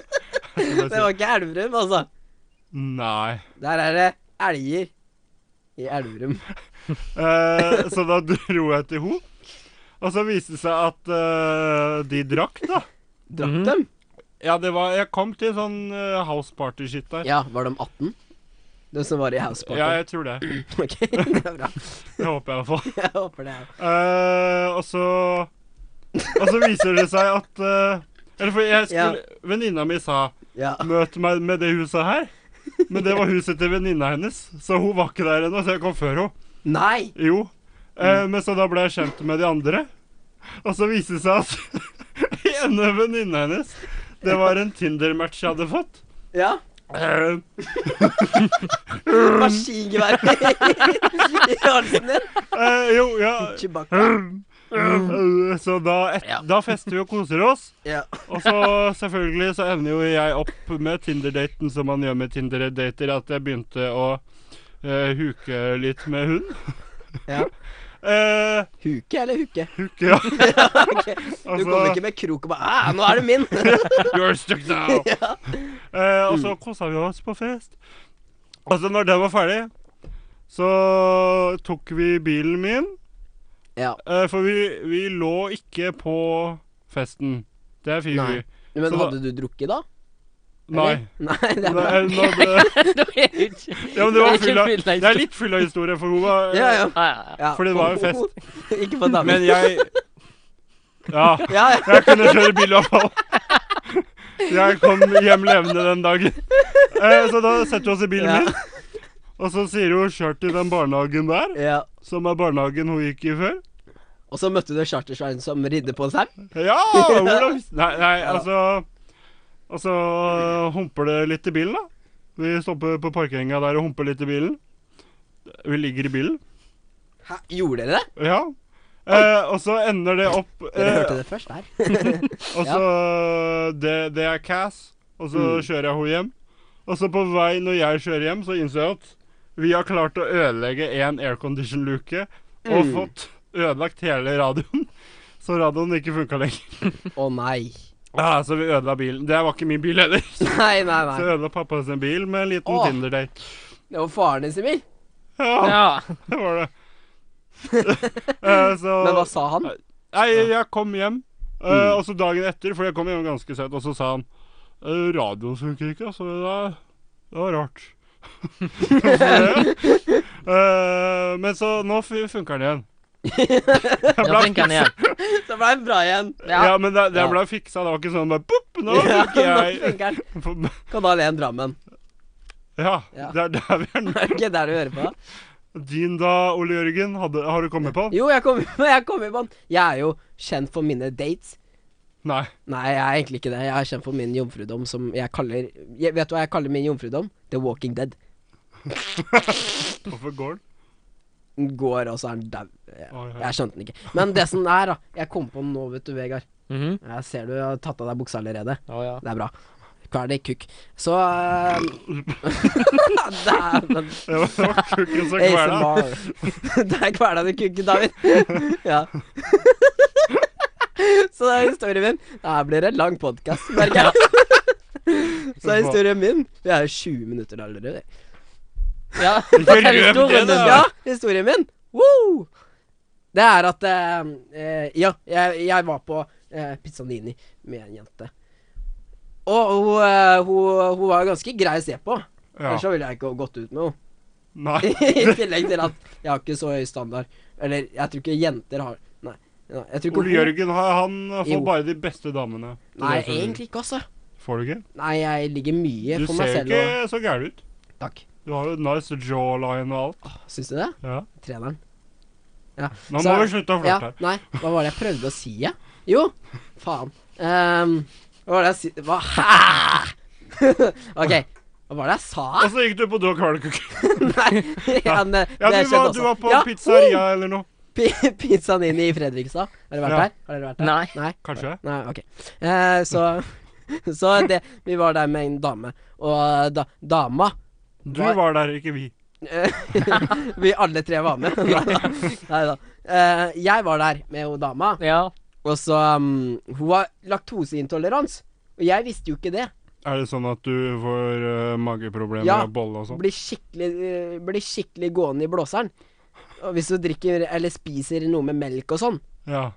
[SPEAKER 3] Det var ikke Elverum, altså.
[SPEAKER 2] Nei.
[SPEAKER 3] Der er det elger i Elverum.
[SPEAKER 2] Eh, så da dro jeg til henne. Og så viste det seg at eh, de drakk, da.
[SPEAKER 3] Drakk
[SPEAKER 1] Mhm.
[SPEAKER 3] dem?
[SPEAKER 2] Ja, det var Jeg kom til sånn eh, house party-shit der.
[SPEAKER 3] Ja, var de 18? De som var i House Party?
[SPEAKER 2] Ja, jeg tror det.
[SPEAKER 3] Ok, det er bra.
[SPEAKER 2] Det håper jeg i hvert fall.
[SPEAKER 3] Jeg håper det. er-
[SPEAKER 2] Eh, og så Og så viser det seg at eh, Eller for jeg skulle Venninna mi sa
[SPEAKER 3] Ja.
[SPEAKER 2] 'møt meg med det huset her'. Men det var huset til venninna hennes, så hun var ikke der ennå. Så jeg kom før henne.
[SPEAKER 3] Nei!
[SPEAKER 2] Jo. Eh, men så da ble jeg kjent med de andre. Og så viste det seg at ene venninna hennes, det var en Tinder-match jeg hadde fått.
[SPEAKER 3] Ja.
[SPEAKER 2] Eh,
[SPEAKER 3] Maskingevær i halsen din.
[SPEAKER 2] eh, jo, ja
[SPEAKER 3] Chewbacca.
[SPEAKER 2] Eh, Så da, et,
[SPEAKER 1] Ja.
[SPEAKER 2] da fester vi og koser oss.
[SPEAKER 3] Ja.
[SPEAKER 2] Og så selvfølgelig så evner jo jeg opp med Tinder-daten som man gjør med Tinder-dater, at jeg begynte å eh, huke litt med hun.
[SPEAKER 3] ja.
[SPEAKER 2] Eh,
[SPEAKER 3] Huke eller huke?
[SPEAKER 2] huke, ja.
[SPEAKER 3] Ok, Du kom
[SPEAKER 2] Altså-
[SPEAKER 3] ikke med krok og bare «Ah, 'Nå er det min'.
[SPEAKER 2] You're stuck now. Eh, og så kosa vi oss på fest. Og så når det var ferdig, så tok vi bilen min.
[SPEAKER 3] ja.
[SPEAKER 2] Eh, for vi, vi lå ikke på festen. Det er fint.
[SPEAKER 3] Nei.
[SPEAKER 2] vi-
[SPEAKER 3] Men
[SPEAKER 2] Så da-
[SPEAKER 3] hadde du drukket da?
[SPEAKER 2] Nei.
[SPEAKER 3] Nei, det
[SPEAKER 2] Nei,
[SPEAKER 3] er bra.
[SPEAKER 2] nå ble,
[SPEAKER 1] Du er ikke
[SPEAKER 2] ja, men det, var
[SPEAKER 1] Ikke
[SPEAKER 2] full av,
[SPEAKER 1] full av
[SPEAKER 2] det er litt full av historie, for hun var
[SPEAKER 3] Ja, ja.
[SPEAKER 1] Ja, ja, ja.
[SPEAKER 3] ja.
[SPEAKER 2] For det var jo fest.
[SPEAKER 3] ikke for damer.
[SPEAKER 2] Men jeg Ja.
[SPEAKER 3] ja, ja.
[SPEAKER 2] Jeg kunne kjøre bil i hvert fall. Jeg kom hjem levende den dagen. Eh, så da setter vi oss i bilen
[SPEAKER 3] Ja.
[SPEAKER 2] min. Og så sier hun 'kjør til den barnehagen der',
[SPEAKER 3] ja.
[SPEAKER 2] som er barnehagen hun gikk i før.
[SPEAKER 3] Og så møtte du Chartersveien som ridde på en sau.
[SPEAKER 2] Ja! Olav visste Nei, nei, altså Og så eh, humper det litt i bilen, da. Vi stopper på parkeringa der og humper litt i bilen. Vi ligger i bilen.
[SPEAKER 3] Hæ, Gjorde dere det?
[SPEAKER 2] Ja. Eh, og så ender det opp
[SPEAKER 3] Dere
[SPEAKER 2] eh,
[SPEAKER 3] hørte det først her.
[SPEAKER 2] Og så det, det er Cass, og så
[SPEAKER 3] Mm.
[SPEAKER 2] kjører jeg henne hjem. Og så på vei når jeg kjører hjem, så innså jeg at vi har klart å ødelegge én aircondition-luke og
[SPEAKER 3] Mm.
[SPEAKER 2] fått ødelagt hele radioen. Så radioen ikke funka lenger.
[SPEAKER 3] Å nei.
[SPEAKER 2] Ja, så vi ødela bilen. Det var ikke min bil heller.
[SPEAKER 3] Nei, nei,
[SPEAKER 2] Så
[SPEAKER 3] nei.
[SPEAKER 2] ødela pappa sin bil med en liten
[SPEAKER 3] Åh.
[SPEAKER 2] Tinder-date.
[SPEAKER 3] Det var faren din sin bil.
[SPEAKER 2] Ja,
[SPEAKER 1] ja.
[SPEAKER 2] det var det. Eh, så
[SPEAKER 3] Men hva sa han?
[SPEAKER 2] Nei, jeg kom hjem, eh,
[SPEAKER 3] Mm.
[SPEAKER 2] og så dagen etter, for jeg kom hjem ganske sent, og så sa han «Eh, Radioen funker ikke, altså. Det, er, det var rart. Eh, men så nå fu- funker den igjen.
[SPEAKER 1] Nå funker den igjen.
[SPEAKER 3] Så ble han bra igjen.
[SPEAKER 2] Ja,
[SPEAKER 1] Ja.
[SPEAKER 2] men det, det
[SPEAKER 3] Ja.
[SPEAKER 2] ble fiksa. Det var ikke sånn bare bopp, nå
[SPEAKER 3] Ja,
[SPEAKER 2] funker
[SPEAKER 3] nå
[SPEAKER 2] jeg.
[SPEAKER 3] funker han.
[SPEAKER 2] For-
[SPEAKER 3] Kan da le en Drammen.
[SPEAKER 2] Ja,
[SPEAKER 3] Ja.
[SPEAKER 2] det er der vi er nå.
[SPEAKER 3] Er det ikke der du hører på?
[SPEAKER 2] Din da, Ole Jørgen, hadde, har du kommet på?
[SPEAKER 3] Jo, jeg kommer jeg kommer på den. Jeg er jo kjent for mine dates.
[SPEAKER 2] Nei.
[SPEAKER 3] Nei, jeg er egentlig ikke det. Jeg kjenner for min jomfrudom som jeg kaller jeg, Vet du hva jeg kaller min jomfrudom? The Walking Dead.
[SPEAKER 2] Hvorfor går den?
[SPEAKER 3] Den går, og så er den dau. Jeg,
[SPEAKER 2] Å, ja.
[SPEAKER 3] jeg skjønte den ikke. Men det som er, da Jeg kom på den nå, vet du, Vegard.
[SPEAKER 1] Mhm.
[SPEAKER 3] Jeg ser du har tatt av deg buksa allerede.
[SPEAKER 1] Å ja.
[SPEAKER 3] Det er bra. Klar deg kukk. Så ehm, eh, Dæven.
[SPEAKER 2] Det var kukken som kvelte.
[SPEAKER 3] ASMR. det er kverna di kukken, David. ja. Så det er historien min. Det her blir en lang podkast, merker jeg. Så er historien min Vi er jo 20 minutter allerede.
[SPEAKER 1] ja.
[SPEAKER 2] Ikke
[SPEAKER 1] det er
[SPEAKER 2] røp
[SPEAKER 1] historien
[SPEAKER 2] det, da.
[SPEAKER 1] din,
[SPEAKER 3] Ja, historien min. Woo! Det er at eh, eh, Ja, jeg, jeg var på eh, Pizzanini med en jente. Og hun, eh, hun, hun var ganske grei å se på.
[SPEAKER 2] Ja.
[SPEAKER 3] Ellers så ville jeg ikke gått ut med henne.
[SPEAKER 2] Nei.
[SPEAKER 3] I tillegg til at jeg har ikke så høy standard. Eller jeg tror ikke jenter har Nei. nei jeg tror ikke
[SPEAKER 2] Ole Jørgen har- han
[SPEAKER 3] Jo.
[SPEAKER 2] får bare de beste damene. Det er
[SPEAKER 3] Nei,
[SPEAKER 2] derfor du-
[SPEAKER 3] egentlig ikke, altså.
[SPEAKER 2] Får du ikke?
[SPEAKER 3] Nei, jeg ligger mye
[SPEAKER 2] Du
[SPEAKER 3] for
[SPEAKER 2] ser
[SPEAKER 3] meg
[SPEAKER 2] jo
[SPEAKER 3] selv og
[SPEAKER 2] ikke så gæren ut.
[SPEAKER 3] Takk.
[SPEAKER 2] Du har jo nice jawline og alt.
[SPEAKER 3] Syns du det?
[SPEAKER 2] Ja.
[SPEAKER 3] Treneren.
[SPEAKER 2] Nå
[SPEAKER 3] Så-
[SPEAKER 2] må vi slutte å
[SPEAKER 3] Ja,
[SPEAKER 2] flørte her.
[SPEAKER 3] nei, hva var det jeg prøvde å si, jeg? Jo, faen. Ehm, hva var det jeg si... Hva Hæ? OK. Hva var det jeg sa?
[SPEAKER 2] Og så gikk du på do og kvalekukke.
[SPEAKER 3] Nei, han, eh,
[SPEAKER 2] Ja,
[SPEAKER 3] det
[SPEAKER 2] du
[SPEAKER 3] skjedde
[SPEAKER 2] var,
[SPEAKER 3] også.
[SPEAKER 2] du var på
[SPEAKER 3] Ja,
[SPEAKER 2] pizzeria eller noe.
[SPEAKER 3] pi- Pizzaen inn i Fredrikstad. Har dere vært
[SPEAKER 2] Ja.
[SPEAKER 3] der? Har dere vært der?
[SPEAKER 1] Nei.
[SPEAKER 3] Nei.
[SPEAKER 2] Kanskje.
[SPEAKER 3] Nei, ok. Eh, så så det, vi var der med en dame, og eh, da, dama
[SPEAKER 2] Du
[SPEAKER 3] Hva-
[SPEAKER 2] var der, ikke vi.
[SPEAKER 3] eh, Vi alle tre var med. Nei da. Eh, jeg var der med hun dama,
[SPEAKER 1] Ja.
[SPEAKER 3] og så um, Hun har laktoseintolerans, og jeg visste jo ikke det.
[SPEAKER 2] Er det sånn at du får eh, mageproblemer
[SPEAKER 3] Ja.
[SPEAKER 2] av bolle og sånn?
[SPEAKER 3] Blir skikkelig, eh, blir skikkelig gående i blåseren. Og hvis du drikker eller spiser noe med melk og sånn.
[SPEAKER 2] Ja.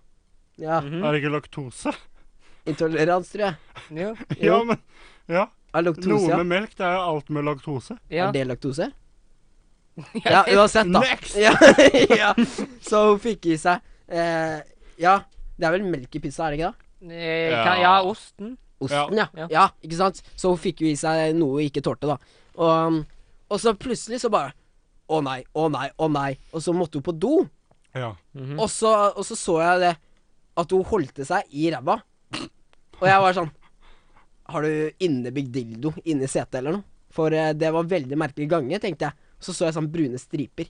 [SPEAKER 3] Ja,
[SPEAKER 1] Mhm.
[SPEAKER 2] Er det ikke laktose?
[SPEAKER 3] intolerans, tror jeg.
[SPEAKER 1] Jo.
[SPEAKER 2] Ja, men Ja.
[SPEAKER 3] Er laktose,
[SPEAKER 2] Noe
[SPEAKER 3] ja.
[SPEAKER 2] med melk, det er jo alt med laktose.
[SPEAKER 1] Ja.
[SPEAKER 3] Er det laktose? Ja, uansett, da.
[SPEAKER 2] Next!
[SPEAKER 3] Ja, ja. Så hun fikk i seg eh, Ja, det er vel melk i pizza, er det ikke det?
[SPEAKER 1] Eh, kan- ja, osten.
[SPEAKER 3] Osten, ja.
[SPEAKER 1] Ja.
[SPEAKER 3] ja. ikke sant? Så hun fikk jo i seg noe hun ikke tålte, da. Og, um, og så plutselig så bare Å nei, å nei, å nei. Og så måtte hun på do.
[SPEAKER 2] Ja.
[SPEAKER 1] Mhm.
[SPEAKER 3] Og, så, og så så jeg det at hun holdt seg i ræva. Og jeg var sånn Har du innebygd dildo inni setet eller noe? For eh, det var veldig merkelig gange, tenkte jeg. Så så jeg sånn brune striper.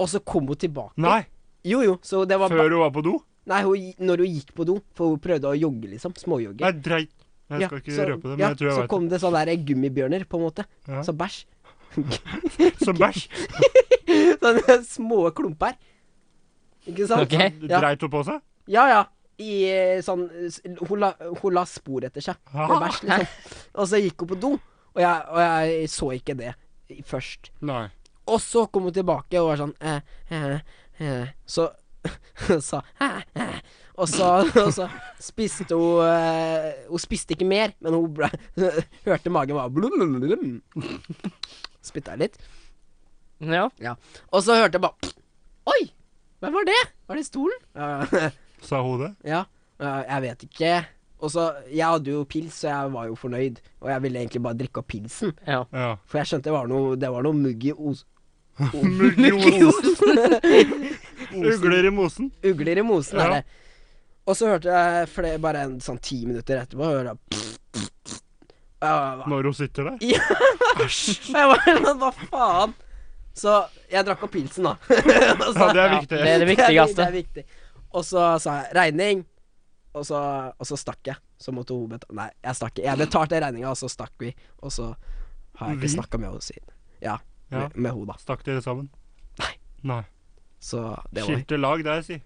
[SPEAKER 3] Og så kom hun tilbake.
[SPEAKER 2] Nei,
[SPEAKER 3] Jo, jo, så det var ba-
[SPEAKER 2] før hun var på do?
[SPEAKER 3] Nei, hun, gi- når hun gikk på do, for hun prøvde å jogge, liksom. Småjogge.
[SPEAKER 2] Nei, dreit. Jeg skal ikke
[SPEAKER 3] så,
[SPEAKER 2] røpe det, men
[SPEAKER 3] ja,
[SPEAKER 2] jeg tror jeg
[SPEAKER 3] Så
[SPEAKER 2] vet
[SPEAKER 3] kom det sånne der gummibjørner, på en måte.
[SPEAKER 2] Ja.
[SPEAKER 3] Så bæsj.
[SPEAKER 2] det. Som bæsj.
[SPEAKER 3] Sånne små klumper. Ikke sant?
[SPEAKER 1] Ok.
[SPEAKER 3] Ja.
[SPEAKER 2] Sånn, Dreit hun på seg?
[SPEAKER 3] Ja, ja. I eh, sånn s- Hun la, hun la spor etter seg. Med
[SPEAKER 2] Ah.
[SPEAKER 3] bæsj, liksom. Og så gikk hun på do, og jeg, og jeg så ikke det først.
[SPEAKER 2] Nei.
[SPEAKER 3] Og så kom hun tilbake og var sånn eh, eh, eh. Så sa eh, eh. Og så, og så spiste hun eh, Hun spiste ikke mer, men hun ble, hørte magen var blum, blum, blum. Spytta jeg litt.
[SPEAKER 1] Ja.
[SPEAKER 3] Og så hørte jeg bare Oi! Hvem var det? Var det stolen? Ja,
[SPEAKER 2] Sa hun det?
[SPEAKER 3] ja. eh, Jeg vet ikke. Og så, Jeg hadde jo pils, så jeg var jo fornøyd. Og jeg ville egentlig bare drikke opp pilsen.
[SPEAKER 1] Ja.
[SPEAKER 2] Ja.
[SPEAKER 3] For jeg skjønte det var noe, det var noe mugg i os...
[SPEAKER 2] Muggeosen. Ugler i mosen.
[SPEAKER 3] Ugler i mosen
[SPEAKER 2] Ja.
[SPEAKER 3] er det. Og så hørte jeg flere, bare en, sånn ti minutter etterpå hørte jeg Ja, hva-
[SPEAKER 2] Når hun sitter der.
[SPEAKER 3] Jeg var sånn, hva faen? Så jeg drakk opp pilsen, da. Og
[SPEAKER 2] Ja,
[SPEAKER 3] så-
[SPEAKER 2] det er
[SPEAKER 1] Ja,
[SPEAKER 2] viktig.
[SPEAKER 1] det er det
[SPEAKER 3] Det
[SPEAKER 1] viktigste.
[SPEAKER 3] er viktig. Og så sa jeg 'regning', og så, og så stakk jeg. Så måtte hun betale Nei, jeg stakk ikke. Jeg betalte regninga, og så stakk vi. Og så har jeg
[SPEAKER 2] Vi?
[SPEAKER 3] ikke snakka med henne siden. Ja,
[SPEAKER 2] Mhm. Ja.
[SPEAKER 3] Med, med hun da.
[SPEAKER 2] Stakk dere sammen?
[SPEAKER 3] Nei.
[SPEAKER 2] Nei.
[SPEAKER 3] Så det var
[SPEAKER 2] Skilte lag der, si.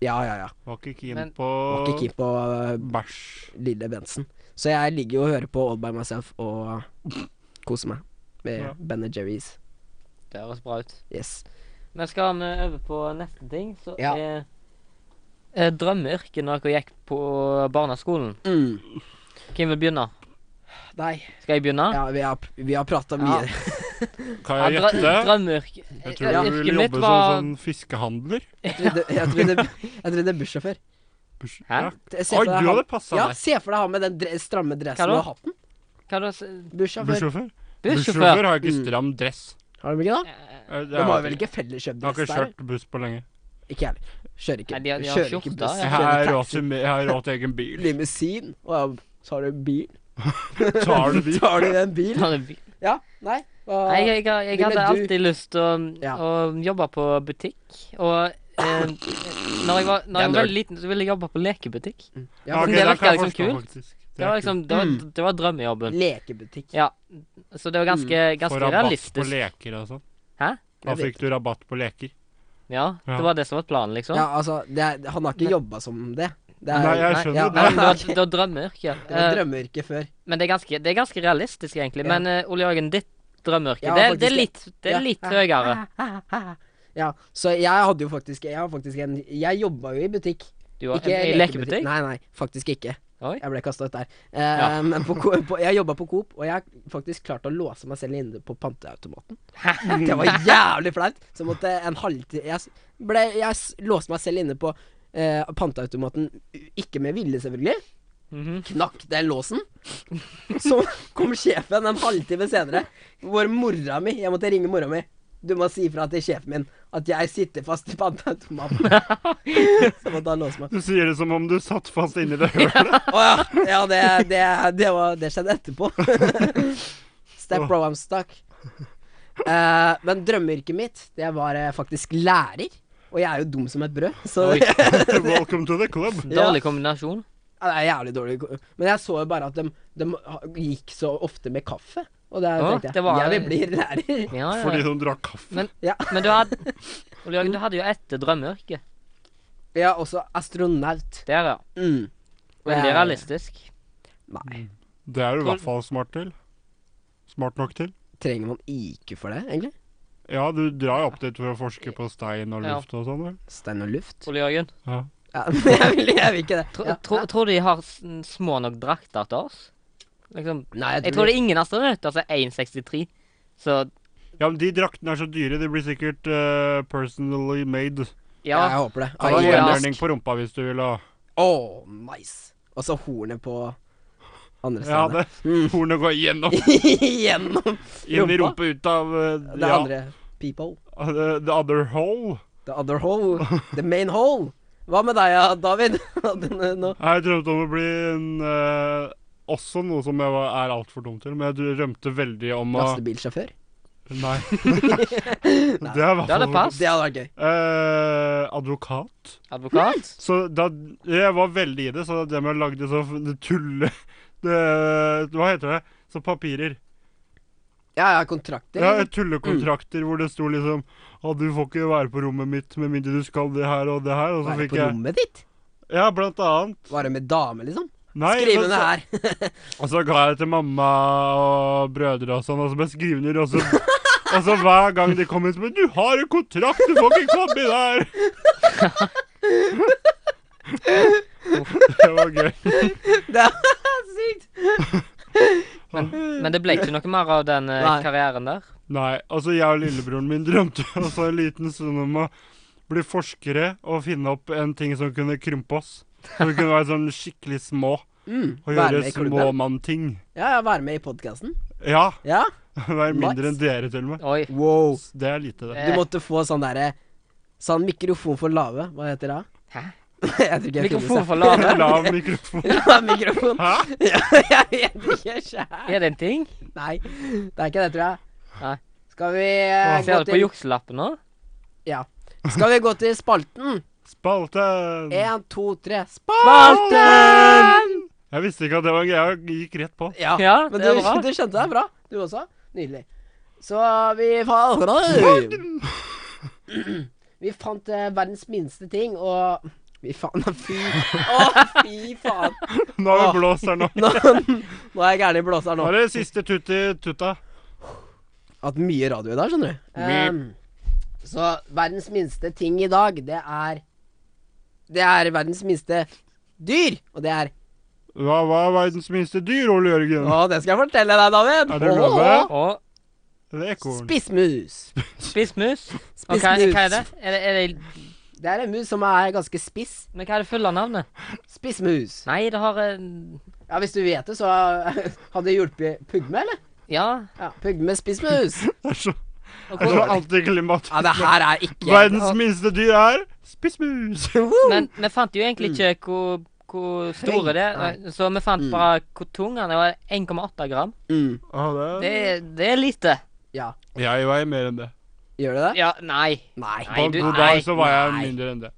[SPEAKER 3] Ja, ja, ja.
[SPEAKER 2] Var ikke
[SPEAKER 1] Men-
[SPEAKER 2] keen på
[SPEAKER 3] Var ikke keen på øh,
[SPEAKER 2] bæsj.
[SPEAKER 3] lille Bensen. Så jeg ligger jo og hører på All By Myself og koser meg med
[SPEAKER 2] Ja.
[SPEAKER 3] Ben Jerry's.
[SPEAKER 1] Det høres bra ut.
[SPEAKER 3] Yes.
[SPEAKER 1] Men skal vi over på neste ting, så
[SPEAKER 3] Ja.
[SPEAKER 1] er eh, drømmeyrket når dere gikk på barneskolen.
[SPEAKER 3] Mm.
[SPEAKER 1] Hvem vil begynne?
[SPEAKER 3] Nei.
[SPEAKER 1] Skal jeg begynne?
[SPEAKER 3] Ja, vi har, vi har prata
[SPEAKER 1] Ja.
[SPEAKER 3] mye.
[SPEAKER 2] Kan
[SPEAKER 1] Ja,
[SPEAKER 2] jeg
[SPEAKER 1] drø-
[SPEAKER 2] gjette?
[SPEAKER 1] Drømmeyrke.
[SPEAKER 2] Jeg tror du vil
[SPEAKER 1] Yrket mitt
[SPEAKER 2] jobbe som
[SPEAKER 1] var
[SPEAKER 2] sånn fiskehandler.
[SPEAKER 3] Jeg trodde, jeg trodde, jeg trodde bussjåfør.
[SPEAKER 2] Bush-
[SPEAKER 1] Hæ?
[SPEAKER 2] Ja.
[SPEAKER 3] Se
[SPEAKER 2] Oi,
[SPEAKER 3] for deg
[SPEAKER 2] du
[SPEAKER 3] han-
[SPEAKER 2] hadde passa
[SPEAKER 3] Ja,
[SPEAKER 2] deg.
[SPEAKER 3] se for deg han med den dre stramme
[SPEAKER 1] Hva
[SPEAKER 3] dressen
[SPEAKER 1] da?
[SPEAKER 3] og hatten.
[SPEAKER 1] Hva da? s-
[SPEAKER 3] Bussjåfør.
[SPEAKER 2] Bussjåfør?
[SPEAKER 1] Bussjåfør.
[SPEAKER 2] har ikke
[SPEAKER 3] Mm.
[SPEAKER 2] stram dress.
[SPEAKER 3] Har de ikke det?
[SPEAKER 2] Eh, Det
[SPEAKER 3] De har
[SPEAKER 2] er-
[SPEAKER 3] vel ikke
[SPEAKER 2] Jeg har
[SPEAKER 3] felleskjøpt
[SPEAKER 2] ikke
[SPEAKER 3] dress der?
[SPEAKER 2] kjørt buss på lenge.
[SPEAKER 3] Ikke jeg heller. Kjører ikke.
[SPEAKER 1] Nei, de har- de har
[SPEAKER 3] kjører ikke
[SPEAKER 1] skjorta,
[SPEAKER 3] buss.
[SPEAKER 1] ja.
[SPEAKER 2] Jeg
[SPEAKER 3] kjører
[SPEAKER 2] har
[SPEAKER 3] taxi,
[SPEAKER 2] råd til, jeg har råd til egen bil.
[SPEAKER 3] Limousin. Og ja, så har du bil.
[SPEAKER 2] Tar du de?
[SPEAKER 3] Tar du den bilen?
[SPEAKER 1] Bare bil.
[SPEAKER 3] Ja. Nei. hva-
[SPEAKER 1] Nei, jeg, jeg, jeg
[SPEAKER 3] Ville
[SPEAKER 1] hadde
[SPEAKER 3] du-
[SPEAKER 1] alltid lyst til å,
[SPEAKER 3] Ja.
[SPEAKER 1] å jobbe på butikk. Og eh, når jeg var, når jeg var
[SPEAKER 3] Det er nerd.
[SPEAKER 1] veldig liten, så ville jeg jobbe på lekebutikk.
[SPEAKER 3] ja,
[SPEAKER 1] ok.
[SPEAKER 3] men
[SPEAKER 1] det
[SPEAKER 2] da
[SPEAKER 1] virker
[SPEAKER 2] kan jeg
[SPEAKER 1] liksom
[SPEAKER 2] forstå,
[SPEAKER 1] kult.
[SPEAKER 2] faktisk. Det
[SPEAKER 1] Det
[SPEAKER 2] er
[SPEAKER 1] var liksom, det var, det var drømmejobben.
[SPEAKER 3] Lekebutikk.
[SPEAKER 1] Ja. Så det var ganske,
[SPEAKER 2] kult. Får
[SPEAKER 1] ganske
[SPEAKER 2] rabatt på
[SPEAKER 1] realistisk.
[SPEAKER 2] leker og sånn.
[SPEAKER 1] Hæ?
[SPEAKER 2] Da
[SPEAKER 3] Jeg vet
[SPEAKER 2] fikk du rabatt på leker.
[SPEAKER 1] Ja,
[SPEAKER 2] Ja.
[SPEAKER 1] det var det som var planen, liksom.
[SPEAKER 3] Ja, altså, det er, han har ikke jobba som det. Det er,
[SPEAKER 2] Nei,
[SPEAKER 1] Nei,
[SPEAKER 2] jeg
[SPEAKER 3] ja,
[SPEAKER 2] skjønner
[SPEAKER 1] Nei,
[SPEAKER 2] det.
[SPEAKER 1] men det var,
[SPEAKER 3] ok.
[SPEAKER 1] det var drømmeyrke.
[SPEAKER 3] det var
[SPEAKER 1] Eh,
[SPEAKER 3] drømmeyrke før.
[SPEAKER 1] men det er, ganske, det er ganske realistisk, egentlig.
[SPEAKER 3] Ja.
[SPEAKER 1] Men eh, Ole Jørgen, ditt drømmeyrke,
[SPEAKER 3] Ja,
[SPEAKER 1] det, er- det
[SPEAKER 3] faktisk,
[SPEAKER 1] er litt, det
[SPEAKER 3] ja.
[SPEAKER 1] er litt høyere.
[SPEAKER 3] Ja, så jeg hadde jo faktisk Jeg, har faktisk en, jeg jobba jo i butikk.
[SPEAKER 1] Du har
[SPEAKER 3] Ikke
[SPEAKER 1] en, en lekebutikk?
[SPEAKER 3] Nei, nei, faktisk ikke.
[SPEAKER 1] Oi.
[SPEAKER 3] Jeg ble kasta ut der. Eh,
[SPEAKER 1] Ja.
[SPEAKER 3] Men på, Coop- på, jeg jobba på Coop, og jeg har faktisk klart å låse meg selv inne på panteautomaten. Det var jævlig flaut. Så måtte jeg en halvtime Jeg, s- ble, jeg s- låste meg selv inne på eh, panteautomaten, ikke med vilje, selvfølgelig.
[SPEAKER 1] Mhm.
[SPEAKER 3] Knakk den låsen. Så kom sjefen en halvtime senere, hvor mora mi Jeg måtte ringe mora mi. Du må si ifra til sjefen min at jeg sitter fast i panteautomaten. Så måtte han låse meg.
[SPEAKER 2] Du sier det som om du satt fast inni det hølet.
[SPEAKER 3] Å ja. ja det, det, det, var, det skjedde etterpå. Step bro, I'm stuck. Eh, men drømmeyrket mitt, det var eh, faktisk lærer. Og jeg er jo dum som et brød, så
[SPEAKER 1] Oi.
[SPEAKER 3] det
[SPEAKER 2] Welcome to the club.
[SPEAKER 1] Dårlig kombinasjon.
[SPEAKER 3] er jævlig dårlig. ko- Men jeg så jo bare at de, de ha- gikk så ofte med kaffe. Og da
[SPEAKER 1] Å,
[SPEAKER 3] tenkte
[SPEAKER 1] det
[SPEAKER 3] jeg
[SPEAKER 1] var-
[SPEAKER 3] jeg vil bli lærer.
[SPEAKER 1] Ja, ja.
[SPEAKER 2] Fordi de drakk kaffe.
[SPEAKER 1] Men-
[SPEAKER 3] Ja,
[SPEAKER 1] Men du hadde Ole Jørgen, du hadde jo ett drømmeyrke.
[SPEAKER 3] ja også astronaut.
[SPEAKER 1] Der, ja.
[SPEAKER 3] Mm.
[SPEAKER 1] Veldig
[SPEAKER 3] Ja.
[SPEAKER 1] realistisk.
[SPEAKER 3] Nei.
[SPEAKER 2] Det er du i hvert fall smart til. Smart nok til.
[SPEAKER 3] Trenger man IQ for det, egentlig?
[SPEAKER 2] Ja, du drar jo opp dit for å forske på stein og
[SPEAKER 1] Ja.
[SPEAKER 2] luft og sånn, vel?
[SPEAKER 3] Stein og luft?
[SPEAKER 1] Ole Jørgen,
[SPEAKER 2] Ja.
[SPEAKER 3] Ja, jeg, vil, jeg vil ikke det.
[SPEAKER 1] tro,
[SPEAKER 3] Ja.
[SPEAKER 1] tro, tror du de har s- små nok drakter til oss? Liksom,
[SPEAKER 3] Nei,
[SPEAKER 1] jeg tror det er ingen astronauter som er 1,63. Så
[SPEAKER 2] Ja, men de draktene er så dyre. De blir sikkert eh, personally made.
[SPEAKER 3] ja.
[SPEAKER 1] ja.
[SPEAKER 3] Jeg håper det.
[SPEAKER 2] Ta en
[SPEAKER 1] ja.
[SPEAKER 2] hjemmeregning på rumpa hvis du vil ha
[SPEAKER 3] Åh, nice. Og så hornet på andre
[SPEAKER 2] Ja,
[SPEAKER 3] stedet.
[SPEAKER 2] det.
[SPEAKER 1] Mm.
[SPEAKER 2] Hornet går gjennom.
[SPEAKER 3] Gjennom
[SPEAKER 2] Inn i
[SPEAKER 3] Rumpa?
[SPEAKER 2] rumpa, ut av eh,
[SPEAKER 3] det
[SPEAKER 2] ja, eh,
[SPEAKER 3] andre people.
[SPEAKER 2] the, the other hole.
[SPEAKER 3] The other hole. The main hole. Hva med deg, ja, David? Denne nå.
[SPEAKER 2] Jeg drømte om å bli en eh, Også noe som jeg var, er altfor dum til, men jeg drømte veldig om å
[SPEAKER 3] Lastebilsjåfør?
[SPEAKER 2] Nei. det er i hvert
[SPEAKER 1] Det hadde
[SPEAKER 2] fall
[SPEAKER 1] pass.
[SPEAKER 3] Det hadde vært gøy.
[SPEAKER 2] Eh, advokat.
[SPEAKER 1] Advokat.
[SPEAKER 2] Så da Jeg var veldig i det, så det med å lage det så det tulle det, Hva heter det? Så papirer.
[SPEAKER 3] Ja, ja, kontrakter.
[SPEAKER 2] Ja,
[SPEAKER 3] Mm.
[SPEAKER 2] tullekontrakter hvor det sto liksom Å, du får ikke være på rommet mitt med mindre du skal det her og det her. Og så
[SPEAKER 3] Være
[SPEAKER 2] fikk
[SPEAKER 3] på
[SPEAKER 2] jeg
[SPEAKER 3] rommet ditt?
[SPEAKER 2] Ja, blant annet.
[SPEAKER 3] Være med dame, liksom?
[SPEAKER 2] Nei,
[SPEAKER 3] Skriv
[SPEAKER 2] men
[SPEAKER 3] under
[SPEAKER 2] så-
[SPEAKER 3] her.
[SPEAKER 2] Og så ga jeg det til mamma og brødre og sånn, og så ble jeg skrivner, og så Og så hver gang de kom inn, så bare 'Du har en kontrakt, du får ikke komme inn her!' det var gøy.
[SPEAKER 3] Det er sykt.
[SPEAKER 1] Men det ble ikke noe mer av den eh,
[SPEAKER 3] Nei.
[SPEAKER 1] karrieren der.
[SPEAKER 2] Nei, altså jeg og lillebroren min drømte også en liten stund om å bli forskere og finne opp en ting som kunne krympe oss. Så vi kunne være sånn skikkelig små
[SPEAKER 3] Mm.
[SPEAKER 2] og
[SPEAKER 3] Være
[SPEAKER 2] gjøre
[SPEAKER 3] med i klubben?
[SPEAKER 2] småmannting.
[SPEAKER 3] Ja, ja, være med i podkasten.
[SPEAKER 2] Ja,
[SPEAKER 3] Ja.
[SPEAKER 2] være mindre enn dere til og med.
[SPEAKER 1] Oi.
[SPEAKER 3] Wow.
[SPEAKER 2] Det er lite, det.
[SPEAKER 3] Du måtte få sånn derre Sånn mikrofon for lave. Hva heter det?
[SPEAKER 1] Hæ?
[SPEAKER 3] Jeg tror ikke jeg
[SPEAKER 1] Mikrofon
[SPEAKER 3] finner
[SPEAKER 1] for lave.
[SPEAKER 2] Lav mikrofon.
[SPEAKER 3] seg. mikrofon.
[SPEAKER 2] Hæ?
[SPEAKER 3] Ja, jeg vet ikke sjæl.
[SPEAKER 1] Er det en ting?
[SPEAKER 3] Nei, det er ikke det, tror jeg.
[SPEAKER 1] Nei.
[SPEAKER 3] Skal vi, eh, gå
[SPEAKER 1] Ser du på
[SPEAKER 3] til,
[SPEAKER 1] jukselappen nå?
[SPEAKER 3] skal vi gå til spalten?
[SPEAKER 2] Spalten.
[SPEAKER 3] Én, to, tre.
[SPEAKER 1] Spalten!
[SPEAKER 2] Jeg visste ikke at det var en greie. Jeg gikk rett på.
[SPEAKER 3] Ja,
[SPEAKER 1] Ja,
[SPEAKER 3] men
[SPEAKER 1] det
[SPEAKER 3] du,
[SPEAKER 1] er bra.
[SPEAKER 3] du skjønte det bra, du også. Nydelig. Så vi fant Vi fant eh, verdens minste ting, og Vi fant Fy. Å, fy faen.
[SPEAKER 2] Nå
[SPEAKER 3] Ah.
[SPEAKER 2] har vi blåst her nå.
[SPEAKER 3] Nå, nå er jeg gæren i blåseren
[SPEAKER 2] Nå
[SPEAKER 3] nå.
[SPEAKER 2] er det siste tut i tuta.
[SPEAKER 3] hatt mye radio i dag, skjønner du.
[SPEAKER 2] Mye.
[SPEAKER 3] Ehm, så verdens minste ting i dag, det er Det er verdens minste dyr. Og det er
[SPEAKER 2] Hva var verdens minste dyr, Ole Jørgen?
[SPEAKER 3] Å, det skal jeg fortelle deg, David.
[SPEAKER 2] Er du
[SPEAKER 3] Åh,
[SPEAKER 2] glad
[SPEAKER 1] Og
[SPEAKER 2] Det er ekorn.
[SPEAKER 3] Spissmus.
[SPEAKER 1] spissmus. Og hva,
[SPEAKER 3] Spissmus.
[SPEAKER 1] hva er det? Er det, er det
[SPEAKER 3] Det er en mus som er ganske spiss.
[SPEAKER 1] men hva er det fulle navnet?
[SPEAKER 3] Spissmus.
[SPEAKER 1] Nei, det har en
[SPEAKER 3] Ja, Hvis du vet det, så hadde det hjulpet pugme, eller?
[SPEAKER 1] Ja.
[SPEAKER 3] Ja, Pugme spissmus.
[SPEAKER 2] Det er så,
[SPEAKER 1] Og
[SPEAKER 2] det er så
[SPEAKER 1] hvor,
[SPEAKER 3] Ah,
[SPEAKER 2] antiklimatisk.
[SPEAKER 3] Ja, det her er ikke
[SPEAKER 2] Verdens minste dyr er Spissmus!
[SPEAKER 1] Men vi fant jo egentlig ikke hvor, hvor store det er, så vi fant
[SPEAKER 3] Mm.
[SPEAKER 1] bare hvor tung han er. og 1,8 gram.
[SPEAKER 3] Mm.
[SPEAKER 2] Ah,
[SPEAKER 1] Det, er- det er lite.
[SPEAKER 3] Ja.
[SPEAKER 2] Jeg veier mer enn det.
[SPEAKER 3] Gjør det det?
[SPEAKER 1] Ja, nei.
[SPEAKER 3] Nei.
[SPEAKER 1] Nei.
[SPEAKER 2] På en
[SPEAKER 1] du-
[SPEAKER 2] god dag så var jeg
[SPEAKER 3] nei.
[SPEAKER 2] mindre enn det.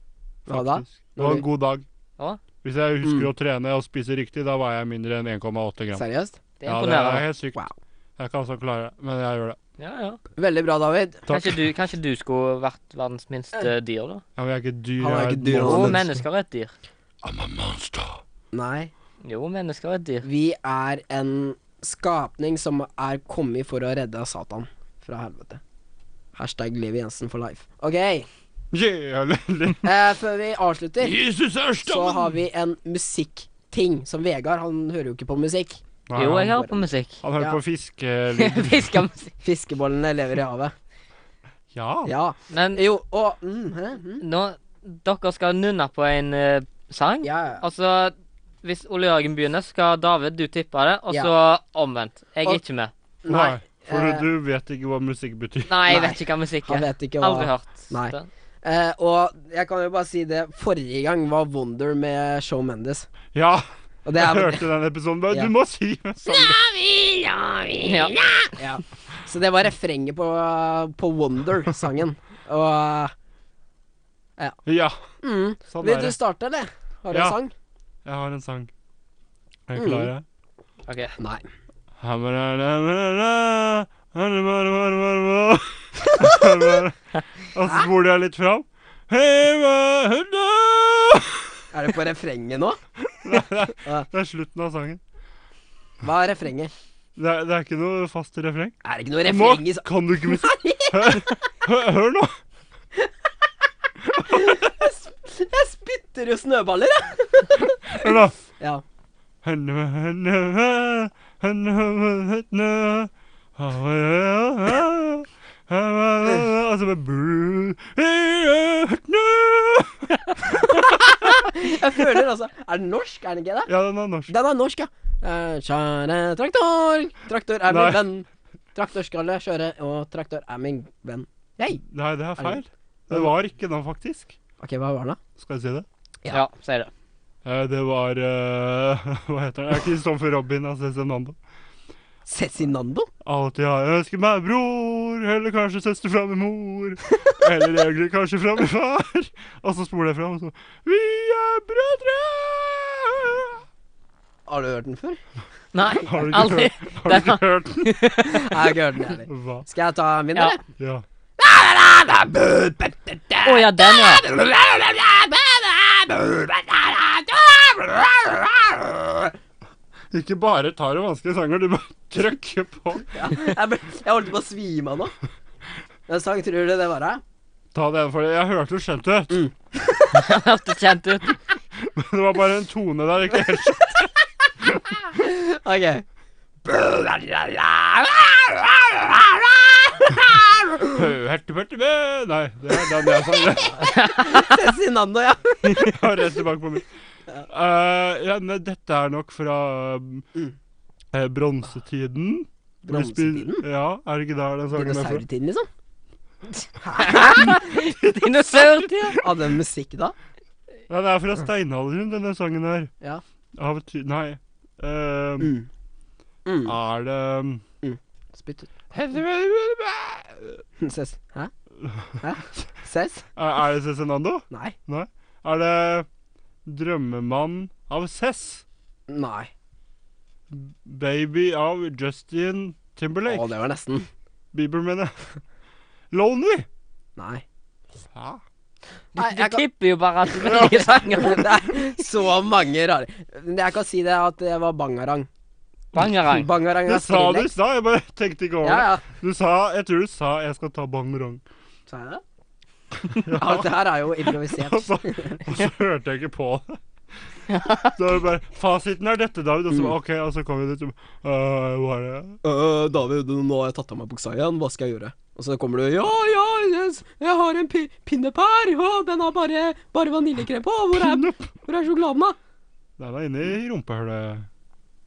[SPEAKER 3] Hva da?
[SPEAKER 2] faktisk. Det var en god dag.
[SPEAKER 1] Å?
[SPEAKER 2] Hvis jeg husker
[SPEAKER 3] Mm.
[SPEAKER 2] å trene og spise riktig, da var jeg mindre enn 1,8 gram.
[SPEAKER 3] Seriøst?
[SPEAKER 1] Det er
[SPEAKER 2] Ja, det er
[SPEAKER 1] imponerende.
[SPEAKER 2] helt sykt.
[SPEAKER 3] Wow.
[SPEAKER 2] Jeg kan altså klare det, men jeg gjør det.
[SPEAKER 1] Ja, ja.
[SPEAKER 3] Veldig bra, David.
[SPEAKER 2] Takk.
[SPEAKER 1] Kanskje, du, kanskje du skulle vært verdens minste dyr, da?
[SPEAKER 2] Ja, men jeg er ikke dyr.
[SPEAKER 3] Han er
[SPEAKER 2] jeg
[SPEAKER 3] ikke dyr,
[SPEAKER 2] et
[SPEAKER 1] Jo,
[SPEAKER 3] han
[SPEAKER 2] monster.
[SPEAKER 3] er
[SPEAKER 1] mennesker er et dyr.
[SPEAKER 2] I'm a monster.
[SPEAKER 3] Nei.
[SPEAKER 1] Jo, mennesker er et dyr.
[SPEAKER 3] Vi er en skapning som er kommet for å redde Satan fra helvete. Hashtag Liv Jensen for life. Ok,
[SPEAKER 2] Yeah, lille.
[SPEAKER 3] eh, før vi avslutter,
[SPEAKER 2] Jesus er
[SPEAKER 3] så har vi en musikkting. Som Vegard, han hører jo ikke på musikk.
[SPEAKER 2] Nei,
[SPEAKER 1] Jo,
[SPEAKER 2] han-
[SPEAKER 1] jeg hører på musikk.
[SPEAKER 2] Han hører
[SPEAKER 3] Ja.
[SPEAKER 2] på fiskelyd.
[SPEAKER 1] Fiskemusikk.
[SPEAKER 3] Fiskebollene lever i havet.
[SPEAKER 2] Ja.
[SPEAKER 3] Ja.
[SPEAKER 1] Men
[SPEAKER 3] Jo, og mm, hæ, mm.
[SPEAKER 1] nå Dere skal nunne på en eh, sang.
[SPEAKER 3] Ja, ja.
[SPEAKER 1] Altså, hvis Ole Jørgen begynner, skal David du tippe det, og
[SPEAKER 3] Ja.
[SPEAKER 1] så omvendt. Jeg er
[SPEAKER 3] Og-
[SPEAKER 1] ikke med.
[SPEAKER 2] Nei.
[SPEAKER 3] Nei.
[SPEAKER 2] For
[SPEAKER 3] eh,
[SPEAKER 2] du vet ikke hva musikk betyr.
[SPEAKER 1] Nei, jeg
[SPEAKER 3] Nei,
[SPEAKER 1] vet ikke hva musikk
[SPEAKER 3] Han
[SPEAKER 1] er.
[SPEAKER 3] vet ikke
[SPEAKER 1] Aldri
[SPEAKER 3] hva
[SPEAKER 1] hørt
[SPEAKER 3] Nei.
[SPEAKER 1] den.
[SPEAKER 3] eh, Og jeg kan jo bare si det, forrige gang var Wonder med Show Mendes.
[SPEAKER 2] Ja,
[SPEAKER 3] Og det
[SPEAKER 2] jeg
[SPEAKER 3] er
[SPEAKER 2] hørte den episoden. men
[SPEAKER 3] Ja.
[SPEAKER 2] Du må si med sangen.
[SPEAKER 1] Ja.
[SPEAKER 3] Ja. Så det var refrenget på, på Wonder-sangen. Og
[SPEAKER 2] Ja.
[SPEAKER 3] mm.
[SPEAKER 2] Sånn
[SPEAKER 3] Vil
[SPEAKER 2] er
[SPEAKER 3] du
[SPEAKER 2] det.
[SPEAKER 3] starte, eller? Har du
[SPEAKER 2] Ja.
[SPEAKER 3] en sang?
[SPEAKER 2] Jeg har en sang. Er
[SPEAKER 3] Mm.
[SPEAKER 2] du klar? jeg?
[SPEAKER 1] OK.
[SPEAKER 3] Nei.
[SPEAKER 2] Hamarara, hamarara, hamarara. Og så spoler jeg litt fram. Hei, hva- hurra!
[SPEAKER 3] Er det på refrenget nå?
[SPEAKER 2] Det er slutten av sangen.
[SPEAKER 3] Hva er refrenget?
[SPEAKER 2] Det er, det er ikke noe fast refreng.
[SPEAKER 3] Er det ikke noe
[SPEAKER 2] Nå
[SPEAKER 3] refreng i sangen?
[SPEAKER 2] kan du ikke musikk. Hør, hør, hør nå.
[SPEAKER 3] Jeg spytter jo snøballer, jeg!
[SPEAKER 2] Hør nå.
[SPEAKER 3] Ja.
[SPEAKER 2] Altså med bru
[SPEAKER 3] Jeg føler altså Er den norsk, er den ikke det?
[SPEAKER 2] Ja, den er norsk.
[SPEAKER 3] Den er norsk, ja. Eh, Kjære traktor, traktor er min
[SPEAKER 2] Nei.
[SPEAKER 3] venn. Traktor skal jeg kjøre, og traktor er min venn. Hei!
[SPEAKER 2] Nei, det er feil. Det var ikke den, faktisk.
[SPEAKER 3] Ok, hva var den, da?
[SPEAKER 2] Skal jeg si det?
[SPEAKER 3] Ja.
[SPEAKER 1] Ja, si det.
[SPEAKER 2] Eh, Det var eh, Hva heter den? Kristoffer Robin altså, av Cezinando.
[SPEAKER 3] Cezinando?
[SPEAKER 2] Alltid har jeg ønsket meg bror, eller kanskje søster fra min mor. Eller egentlig kanskje fra min far. Og så spoler jeg fram, og så Vi er brødre!
[SPEAKER 3] Har du hørt den før?
[SPEAKER 1] Nei,
[SPEAKER 2] Har du ikke
[SPEAKER 1] aldri.
[SPEAKER 2] hørt- Har du ikke hørt den?
[SPEAKER 3] Nei, jeg har ikke hørt den heller.
[SPEAKER 2] Hva?
[SPEAKER 3] Skal jeg ta min,
[SPEAKER 1] Ja.
[SPEAKER 3] eller?
[SPEAKER 2] Ja.
[SPEAKER 1] Å ja, den, ja.
[SPEAKER 2] Ikke bare tar du vanskelige sanger, du bare trykker på.
[SPEAKER 3] Ja, jeg, ble, jeg holdt på å svime av nå. Hvilken sang tror du det var? da?
[SPEAKER 2] Ta det for det. Jeg hørte du skjønte det.
[SPEAKER 1] Den hørtes kjent ut.
[SPEAKER 2] men Det var bare en tone der. ikke helt skjønt.
[SPEAKER 3] Ok.
[SPEAKER 2] Hørte, hørte, hørte. Nei, det er den jeg sang. det.
[SPEAKER 3] Cezinando, ja.
[SPEAKER 2] Og rett tilbake på meg. Eh, ja, men dette er nok fra um,
[SPEAKER 3] Mm.
[SPEAKER 2] eh, bronsetiden. Vi spil-
[SPEAKER 3] Bronsetiden?
[SPEAKER 2] Ja, er det ikke der den sangen er fra?
[SPEAKER 3] Dinosaurtiden, liksom?
[SPEAKER 1] Dinosaurtid.
[SPEAKER 3] Hadde den musikk da?
[SPEAKER 2] Nei, det er fra steinalderen, denne sangen her.
[SPEAKER 3] Ja.
[SPEAKER 2] Av ty... Nei. Eh,
[SPEAKER 3] Mm. Mm.
[SPEAKER 2] Er det um,
[SPEAKER 3] Spytt ut.
[SPEAKER 2] Er
[SPEAKER 3] Hm, Ses. Hæ? Hæ? Ses?
[SPEAKER 2] Eh, er det Cezinando?
[SPEAKER 3] Nei.
[SPEAKER 2] Er det Drømmemann av Cess?
[SPEAKER 3] Nei.
[SPEAKER 2] Baby av Justin
[SPEAKER 3] Å,
[SPEAKER 2] Timberlake?
[SPEAKER 3] det var nesten.
[SPEAKER 2] Bieber, mener jeg. Lonely?
[SPEAKER 3] Nei.
[SPEAKER 2] Ja.
[SPEAKER 1] Du,
[SPEAKER 3] Nei,
[SPEAKER 1] du
[SPEAKER 3] jeg kan-
[SPEAKER 1] klipper jo bare at du velger sanger.
[SPEAKER 3] Det er så mange rare Men Jeg kan si det at det var bangarang.
[SPEAKER 1] Bangerang.
[SPEAKER 3] Bangarang
[SPEAKER 2] Det
[SPEAKER 3] er
[SPEAKER 2] sa du i
[SPEAKER 3] skrillex.
[SPEAKER 2] stad, jeg bare tenkte ikke over
[SPEAKER 3] Ja,
[SPEAKER 2] det.
[SPEAKER 3] ja.
[SPEAKER 2] Du sa, jeg tror du sa 'jeg skal ta bangerang'.
[SPEAKER 3] Sa jeg det? Ja, dette her er jo improvisert.
[SPEAKER 2] Og så, og så hørte jeg ikke på det. Så var det bare Fasiten er dette, David. Og så bare, OK, og så kom vi dit. og bare, «Øh, Hva er det?
[SPEAKER 3] Øh, David, nå har jeg tatt av meg buksa igjen, hva skal jeg gjøre? Og så kommer du Ja, ja, yes, jeg har en pi pinnepær, og den har bare, bare vaniljekrem på. Hvor er,
[SPEAKER 2] Pinup!
[SPEAKER 3] hvor er sjokoladen, da?
[SPEAKER 2] Den er inne i rumpehullet.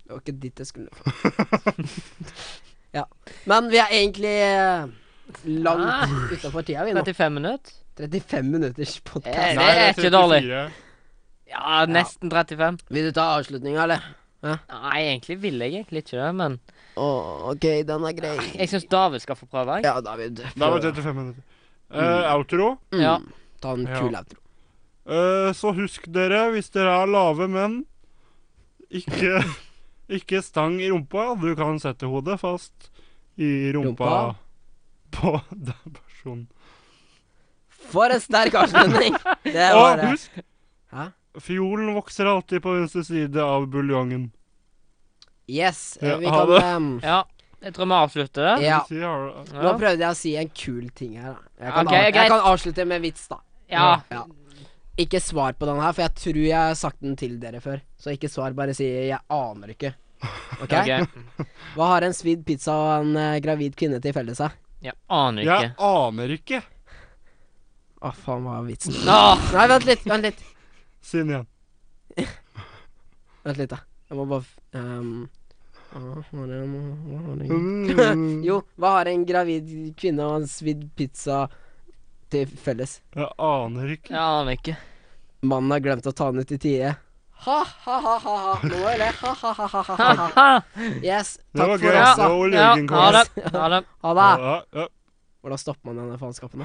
[SPEAKER 3] Det var ikke dit jeg skulle. ja. Men vi er egentlig eh,
[SPEAKER 2] Ah.
[SPEAKER 3] langt utafor tida vi nå.
[SPEAKER 1] 35 minutter?
[SPEAKER 3] 35 minutters
[SPEAKER 1] Eh,
[SPEAKER 3] podkast.
[SPEAKER 1] det er ikke dårlig.
[SPEAKER 2] 34.
[SPEAKER 1] Ja, nesten 35.
[SPEAKER 3] Vil du ta avslutninga, eller?
[SPEAKER 1] Nei, egentlig ville jeg egentlig ikke det, men
[SPEAKER 3] Å, OK, den er grei.
[SPEAKER 1] jeg syns David skal få prøve. Jeg.
[SPEAKER 3] Ja, David.
[SPEAKER 2] Da var
[SPEAKER 3] prøv.
[SPEAKER 2] det 35 minutter.
[SPEAKER 1] Mm.
[SPEAKER 2] Eh, outro.
[SPEAKER 1] Ja.
[SPEAKER 3] Mm. Ta en
[SPEAKER 2] Ja.
[SPEAKER 3] kul outro.
[SPEAKER 2] Eh, så husk dere, hvis dere er lave menn, ikke, ikke stang i rumpa. Du kan sette hodet fast i rumpa,
[SPEAKER 3] Rumpa?
[SPEAKER 2] på den personen.
[SPEAKER 3] For en sterk avslutning! Det var
[SPEAKER 2] Og
[SPEAKER 3] det.
[SPEAKER 2] husk,
[SPEAKER 3] Hæ?
[SPEAKER 2] fiolen vokser alltid på venstre side av buljongen.
[SPEAKER 3] Yes. eh,
[SPEAKER 2] Ja,
[SPEAKER 3] Vi
[SPEAKER 2] ha
[SPEAKER 3] kan
[SPEAKER 2] det.
[SPEAKER 3] ehm,
[SPEAKER 1] Ja, jeg tror vi avslutter det.
[SPEAKER 3] Ja.
[SPEAKER 2] Vil si, har du-
[SPEAKER 3] Nå
[SPEAKER 1] Ja.
[SPEAKER 3] prøvde jeg å si en kul ting her, da. Jeg kan,
[SPEAKER 1] Ok,
[SPEAKER 3] av,
[SPEAKER 1] greit.
[SPEAKER 3] jeg kan avslutte med vits, da.
[SPEAKER 1] ja.
[SPEAKER 3] Ja. Ikke svar på den her, for jeg tror jeg har sagt den til dere før. Så ikke svar, bare si 'jeg aner ikke'. Ok?
[SPEAKER 1] Ok.
[SPEAKER 3] Hva har en svidd pizza og en eh, gravid kvinne til felles? da?
[SPEAKER 1] Jeg aner
[SPEAKER 2] Jeg
[SPEAKER 1] ikke.
[SPEAKER 2] aner ikke.
[SPEAKER 3] Å, faen, hva var vitsen?
[SPEAKER 1] Åh,
[SPEAKER 3] Nei, vent litt. Vent litt,
[SPEAKER 2] Si den igjen.
[SPEAKER 3] vent litt da. Jeg må bare f- ehm, hva har en- hva har en-
[SPEAKER 2] Mm.
[SPEAKER 3] Jo, hva har en gravid kvinne og en svidd pizza til felles?
[SPEAKER 2] Jeg aner ikke.
[SPEAKER 1] jeg aner ikke.
[SPEAKER 3] Mannen har glemt å ta den ut i tide. Ha, ha, ha, ha, ha. Nå må jeg le. Ha, ha, ha, ha, ha,
[SPEAKER 1] Ha,
[SPEAKER 3] ha, ha.
[SPEAKER 1] ha.
[SPEAKER 3] Yes.
[SPEAKER 2] Det
[SPEAKER 3] Takk
[SPEAKER 2] var
[SPEAKER 3] for
[SPEAKER 2] gøy.
[SPEAKER 3] oss,
[SPEAKER 2] Det
[SPEAKER 3] da.
[SPEAKER 2] var
[SPEAKER 1] Ja,
[SPEAKER 2] legen
[SPEAKER 1] ha
[SPEAKER 2] kom.
[SPEAKER 1] det. Ha det.
[SPEAKER 3] Ha det.
[SPEAKER 2] Ja, ja.
[SPEAKER 3] Hvordan stopper man denne faenskapen, da?